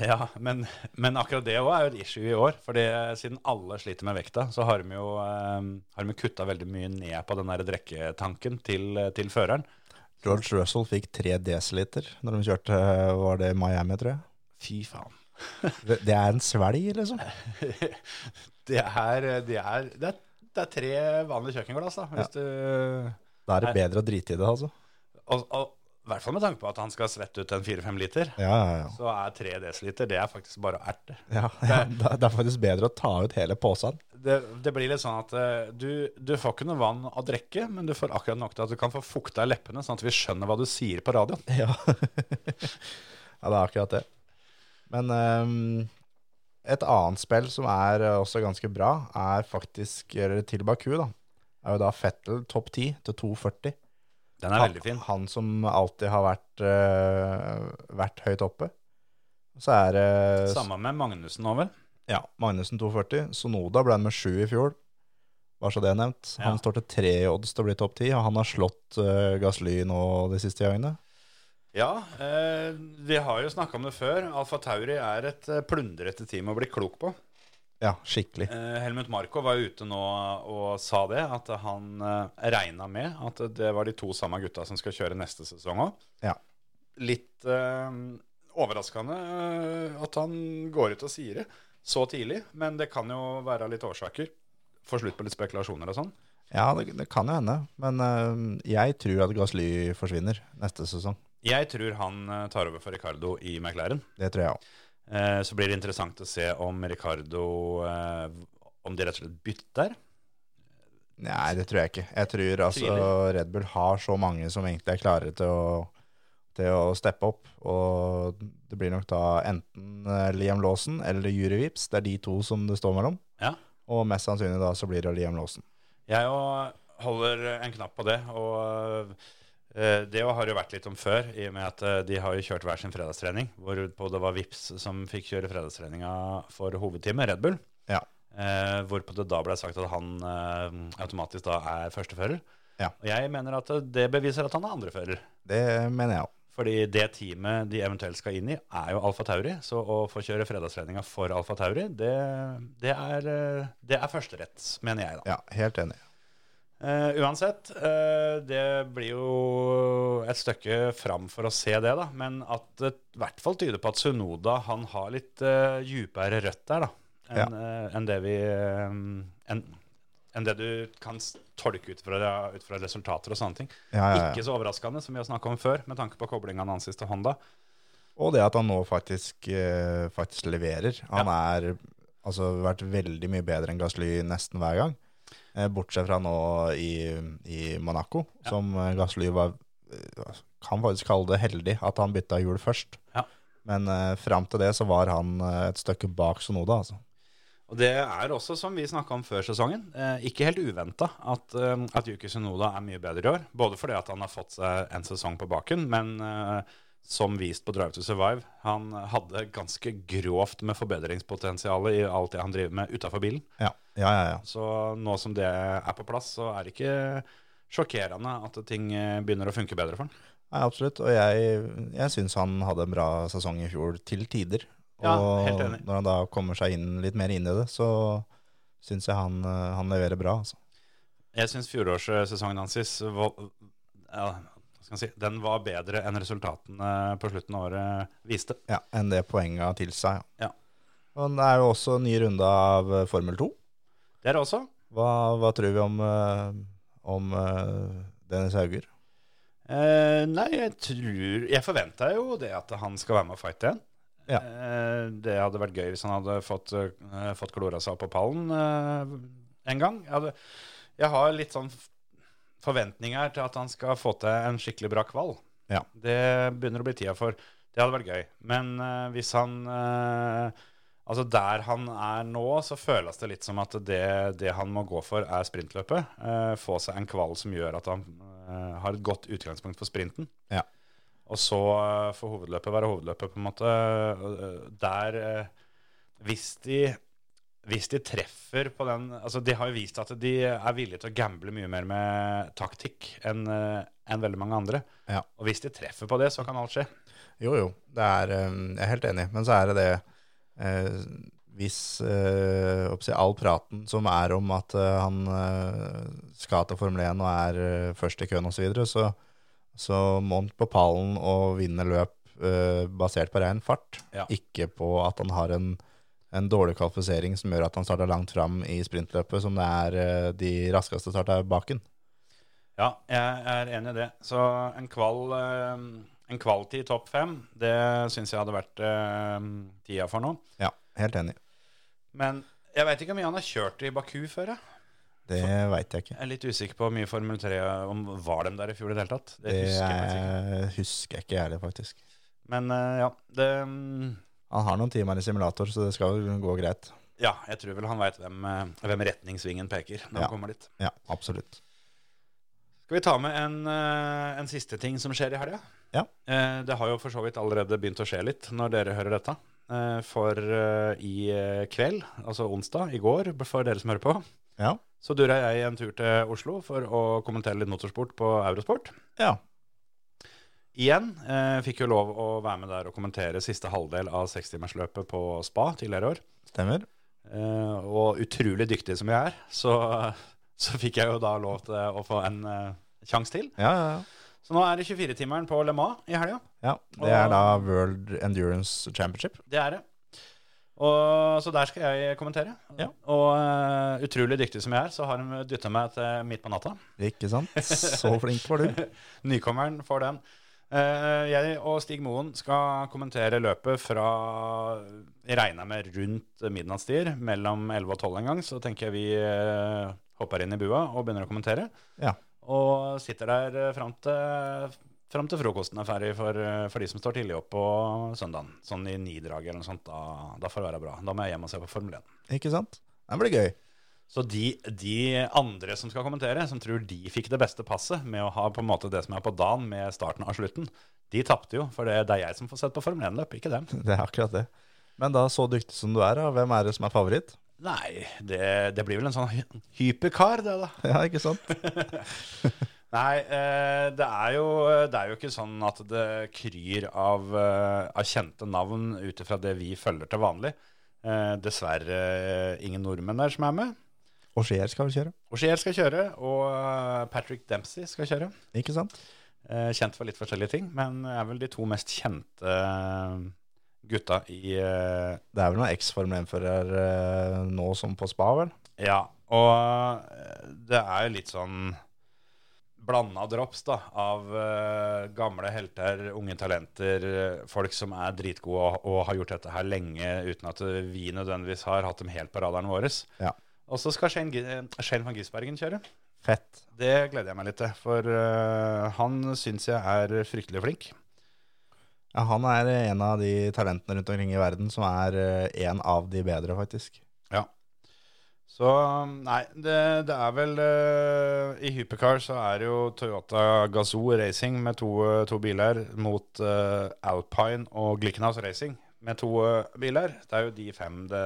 C: Ja, men, men akkurat det òg er jo et issue i år. Fordi siden alle sliter med vekta, så har de jo eh, har de kutta veldig mye ned på den der drikketanken til, til føreren.
D: George Russell fikk tre desiliter når de kjørte var det Miami, tror jeg.
C: Fy faen. [laughs]
D: Det, det er en svelg, liksom.
C: Det er, det er, det er, det er tre vanlige kjøkkenglass, da. Hvis du,
D: Da er det bedre å drite i det, altså.
C: og, og i hvert fall med tanke på at han skal svette ut en fire-fem liter.
D: Ja, ja, ja.
C: Så er tre desiliter det er faktisk bare å erte.
D: ja, ja [laughs] det, det er faktisk bedre å ta ut hele posen.
C: det, det blir litt sånn at eh, du, du får ikke noe vann å drikke, men du får akkurat nok til at du kan få fukta i leppene, sånn at vi skjønner hva du sier på radioen.
D: [laughs] Ja. ja, det er akkurat det. Men ehm, et annet spill som er eh, også ganske bra, er faktisk eller til Baku, da. Er jo da Fettel topp 10 til 2,40.
C: Den er veldig fin.
D: Han som alltid har vært, eh, vært høyt oppe. Så er det eh,
C: Samme med Magnussen nå, vel?
D: ja, Magnussen 2,40. Sonoda ble han med 7 i fjor. Bare så det er nevnt.
C: Ja.
D: Han står til 3 i odds til å bli topp 10, og han har slått uh, Gasly nå de siste gangene.
C: Ja, eh, vi har jo snakka om det før. Alfa Tauri er et eh, plundrete team å bli klok på.
D: Ja, skikkelig.
C: Eh, Helmut Marko var ute nå og sa det, at han eh, regna med at det var de to samme gutta som skal kjøre neste sesong òg.
D: Ja.
C: Litt eh, overraskende eh, at han går ut og sier det så tidlig, men det kan jo være litt årsaker. Få slutt på litt spekulasjoner og sånn.
D: Ja, det, det kan jo hende. Men eh, jeg tror at Gasly forsvinner neste sesong.
C: Jeg tror han eh, tar over for Ricardo i McLaren.
D: Det tror jeg òg.
C: Eh, Så blir det interessant å se om Ricardo eh, Om de rett og slett bytter.
D: Nei, det tror jeg ikke. Jeg tror altså
C: Tviler.
D: Red Bull har så mange som egentlig er klare til å, til å steppe opp. Og det blir nok da enten eh, Liam Lawson eller Jury Vips. Det er de to som det står mellom.
C: Ja.
D: Og mest sannsynlig da så blir det Liam Lawson.
C: Jeg òg holder en knapp på det. Og eh, det har det jo vært litt om før, i og med at eh, de har jo kjørt hver sin fredagstrening. Hvorpå det var Vips som fikk kjøre fredagstreninga for hovedteamet, Red Bull.
D: Ja.
C: Eh, hvorpå det da ble sagt at han eh, automatisk da er førstefører.
D: Ja.
C: Og jeg mener at eh, det beviser at han er andrefører.
D: Det mener jeg òg.
C: Fordi det teamet de eventuelt skal inn i, er jo Alfa Tauri. Så å få kjøre fredagstreninga for Alfa Tauri, det, det er, eh, det er førsterett, mener jeg, da.
D: Ja, helt enig.
C: Eh, uansett, eh, det blir jo et stykke fram for å se det, da. Men at det i hvert fall tyder på at Sunoda han har litt uh, djupere rødt der, da. Enn eh, enn det vi eh, enn- enn det du kan s- tolke ut fra, ut fra resultater og sånne ting.
D: Ja, ja, ja.
C: Ikke så overraskende, som vi har snakka om før, med tanke på koblinga hans til Honda.
D: Og det at han nå faktisk, eh, faktisk leverer. Han er altså vært veldig mye bedre enn Gasly nesten hver gang. Eh, Bortsett fra nå i, i Monaco, som eh, Gasly var eh, Kan faktisk kalle det heldig at han bytta hjul først.
C: Ja.
D: Men eh, fram til det så var han eh, et stykke bak Sonoda, altså.
C: Og det er også, som vi snakka om før sesongen, eh, ikke helt uventa at, eh, at Yuki Sunoda er mye bedre i år. Både fordi at han har fått seg en sesong på baken, men eh, som vist på Drive to Survive, han hadde ganske grovt med forbedringspotensial i alt det han driver med utafor bilen.
D: Ja, ja, ja. ja.
C: Så nå som det er på plass, så er det ikke sjokkerende at ting eh, begynner å funke bedre for han.
D: Nei, absolutt. Og jeg, jeg syns han hadde en bra sesong i fjor, til tider. Og
C: Ja, helt enig.
D: når han da kommer seg inn litt mer inn i det, så syns jeg han, eh, han leverer bra. Altså.
C: Jeg syns fjorårssesongen hans is var, ja, hva skal jeg si, den var bedre enn resultatene på slutten av året viste.
D: Ja, Enn det poenga tilsa.
C: Ja.
D: Og det er jo også en ny runde av eh, Formel 2.
C: Det er det også.
D: Hva, hva tror vi om, eh, om eh, Dennis Hauger?
C: Eh, nei, jeg tror Jeg forventa jo det at han skal være med og fighte igjen.
D: Ja.
C: Eh, det hadde vært gøy hvis han hadde fått, eh, fått klora seg opp på pallen eh, en gang. Jeg, hadde, jeg har litt sånn f- forventninger til at han skal få til en skikkelig bra kval.
D: Ja.
C: Det begynner å bli tida for. Det hadde vært gøy. Men eh, hvis han eh, Altså Der han er nå, så føles det litt som at det, det han må gå for, er sprintløpet. Eh, få seg en kval som gjør at han eh, har et godt utgangspunkt for sprinten.
D: Ja.
C: Og så eh, får hovedløpet være hovedløpet, på en måte. Eh, Der eh, Hvis de hvis de treffer på den altså De har jo vist at de er villige til å gamble mye mer med taktikk enn eh, enn veldig mange andre.
D: Ja.
C: Og hvis de treffer på det, så kan alt skje.
D: Jo, jo. Det er, eh, jeg er helt enig. Men så er det det eh, Hvis eh, hva skal jeg si, all praten som er om at eh, han eh, skal til Formel 1 og er eh, først i køen osv., så, videre, så så må han på pallen og vinne løp eh, basert på ren fart.
C: Ja.
D: Ikke på at han har en, en dårlig kvalifisering som gjør at han starter langt fram i sprintløpet, som det er eh, de raskeste starta baken.
C: Ja, jeg er enig i det. Så en kval eh, En kvaltid i topp fem, det syns jeg hadde vært eh, tida for nå.
D: Ja, helt enig.
C: Men jeg veit ikke hvor mye han har kjørt i Baku før. Jeg.
D: Det veit jeg ikke.
C: jeg er litt usikker på hvor mye Formel 3 om var dem der i fjor i det hele tatt. Det
D: Det
C: husker jeg faktisk ikke.
D: eh, husker jeg ikke, jeg heller, faktisk.
C: Men eh, ja, det mm,
D: Han har noen timer i simulator, så det skal vel gå greit.
C: Ja, jeg tror vel han veit hvem, eh, hvem retningssvingen peker når
D: Ja.
C: han kommer dit.
D: Ja, absolutt.
C: Skal vi ta med en, eh, en siste ting som skjer i helga?
D: Ja.
C: Eh, Det har jo for så vidt allerede begynt å skje litt når dere hører dette. Eh, For eh, i eh, kveld, altså onsdag, i går, for dere som hører på,
D: Ja.
C: så dura jeg en tur til Oslo for å kommentere litt motorsport på Eurosport.
D: Ja.
C: Igjen eh, fikk jo lov å være med der og kommentere siste halvdel av sekstimersløpet på spa tidligere i år.
D: Stemmer.
C: Eh, og utrolig dyktig som jeg er, så, så fikk jeg jo da lov til å få en eh, sjanse til.
D: Ja, ja, ja.
C: Så nå er det 24-timeren på Le Mans i helga.
D: ja. Det er da World Endurance Championship.
C: Det er det. Og, så der skal jeg kommentere.
D: Ja.
C: Og eh, utrolig dyktig som jeg er, så har de dytta meg til midt på natta.
D: Ikke sant? Så flink var du.
C: Nykommeren får den. Eh, jeg og Stig Moen skal kommentere løpet fra Jeg regner med rundt midnattstid, mellom 11 og 12 en gang. Så tenker jeg vi eh, hopper inn i bua og begynner å kommentere.
D: Ja.
C: Og sitter der eh, fram til, fram til frokosten er ferdig for, eh, for de som står tidlig opp på søndagen. Sånn i nidraget eller noe sånt. Da, da får det være bra. Da må jeg hjem og se på Formel 1.
D: Ikke sant? Det blir gøy. [laughs]
C: Så de, de andre som skal kommentere, som tror de fikk det beste passet med å ha på en måte det som er på dagen med starten av slutten, de tapte jo, for det, det er jeg som får sett på Formel 1-løp, ikke dem.
D: Det er akkurat det. Men da, så dyktig som du er, da, hvem er det som er favoritt? [laughs]
C: Nei, det, det blir vel en sånn hy- hyperkar, det da.
D: Ja, ikke sant?
C: Nei, eh, det er, jo, det er jo ikke sånn at det kryr av, eh, av kjente navn ut ifra det vi følger til vanlig. Eh, dessverre eh, ingen nordmenn der som er med.
D: Og Skier skal vi kjøre.
C: Oshiel skal kjøre, og eh, Patrick Dempsey skal kjøre.
D: Ikke sant?
C: Eh, kjent for litt forskjellige ting, men er vel de to mest kjente eh, gutta i eh,
D: Det er vel noen eks-Formel 1-fører eh, nå som på spa, vel?
C: Ja, og eh, det er jo litt sånn blanda drops da, av eh, gamle helter, unge talenter, eh, folk som er dritgode og, og har gjort dette her lenge uten at vi nødvendigvis har hatt dem helt på radaren vår.
D: Ja.
C: Og så skal Shane, Gi- eh, Shane van Gisbergen kjøre.
D: Fett.
C: Det gleder jeg meg litt til, for eh, han syns jeg er fryktelig flink.
D: Ja, han er en av de talentene rundt omkring i verden som er eh, en av de bedre, faktisk.
C: Så um, nei, det, det er vel eh, I hypercar så er det jo Toyota Gazoo Racing med to, eh, to biler mot eh, Alpine og Glickenhaus Racing med to eh, biler. Det er jo de fem det,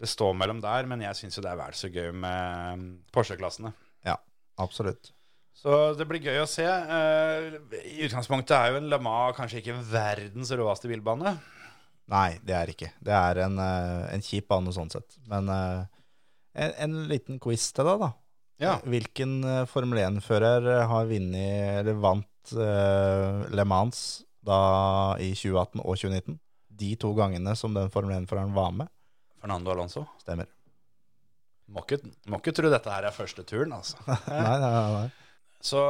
C: det står mellom der, men jeg syns jo det er vel så gøy med mm, Porsche-klassene.
D: Ja, absolutt.
C: Så det blir gøy å se. Eh, I utgangspunktet er jo en Le Mans kanskje ikke verdens råeste bilbane.
D: Nei, det er ikke. Det er en, eh, en kjip bane sånn sett. Men eh, en, en liten quiz til deg, da.
C: Ja.
D: Hvilken eh, Formel 1-fører har vunnet eller vant eh, Le Mans da i 2018 og 2019? De to gangene som den Formel 1-føreren var med.
C: Fernando Alonso.
D: Stemmer.
C: Må ikke, må ikke tro dette her er første turen, altså.
D: Nei, nei, nei. nei.
C: Så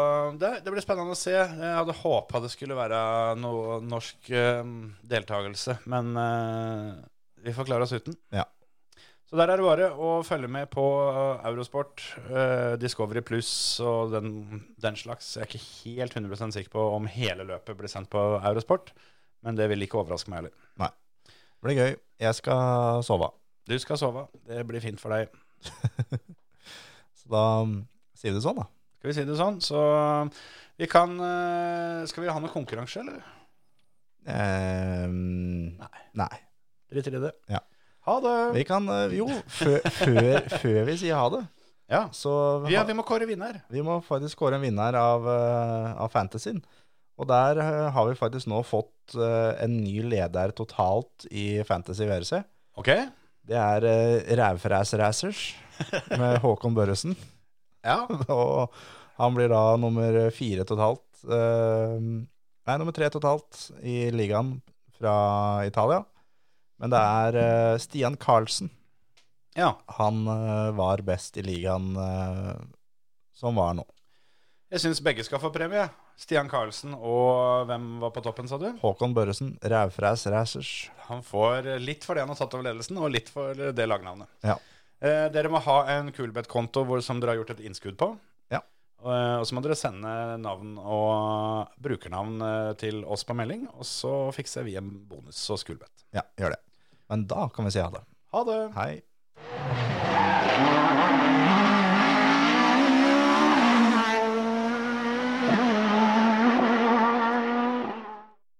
C: det, det blir spennende å se. Jeg hadde håpa det skulle være noe norsk eh, deltakelse, men eh, vi får klare oss uten.
D: Ja.
C: Så der er det bare å følge med på eh, Eurosport, eh, Discovery Pluss og den, den slags. Jeg er ikke helt 100 sikker på om hele løpet blir sendt på Eurosport, men det vil ikke overraske meg heller.
D: Det blir gøy. Jeg skal sove.
C: Du skal sove. Det blir fint for deg.
D: Så da mm, sier vi det sånn, da.
C: Skal vi si det sånn? Så vi kan eh, Skal vi ha noe konkurranse, eller?
D: Ehm, nei.
C: Drit i det.
D: Ja.
C: Ha det!
D: Vi kan eh, Jo, før, før, før vi sier ha det,
C: Ja.
D: så
C: Ja, vi må kåre vinner.
D: Vi må faktisk kåre en vinner av, eh, av Fantasyen. Og der eh, har vi faktisk nå fått eh, en ny leder totalt i Fantasy VRC.
C: Ok?
D: Det er uh, Rævfræs Racers med Håkon Børresen.
C: Ja.
D: [laughs] Og han blir da nummer fire totalt. eh, nei, nummer tre totalt i ligaen fra Italia. Men det er eh, Stian Karlsen.
C: ja.
D: Han eh, var best i ligaen eh, som var nå.
C: Jeg syns begge skal få premie. Stian Karlsen og hvem var på toppen, sa du?
D: Håkon Børresen, Rævfræs Racers.
C: Han får litt for det han har tatt over ledelsen, og litt for det lagnavnet.
D: Ja.
C: Eh, dere må ha en Coolbet-konto hvor- som dere har gjort et innskudd på.
D: Ja.
C: Eh, og så må dere sende navn og brukernavn eh, til oss på melding, og så fikser vi en bonus hos Coolbet.
D: Ja, gjør det. Men da kan vi si ha det.
C: Ha det!
D: Hei.
A: Racing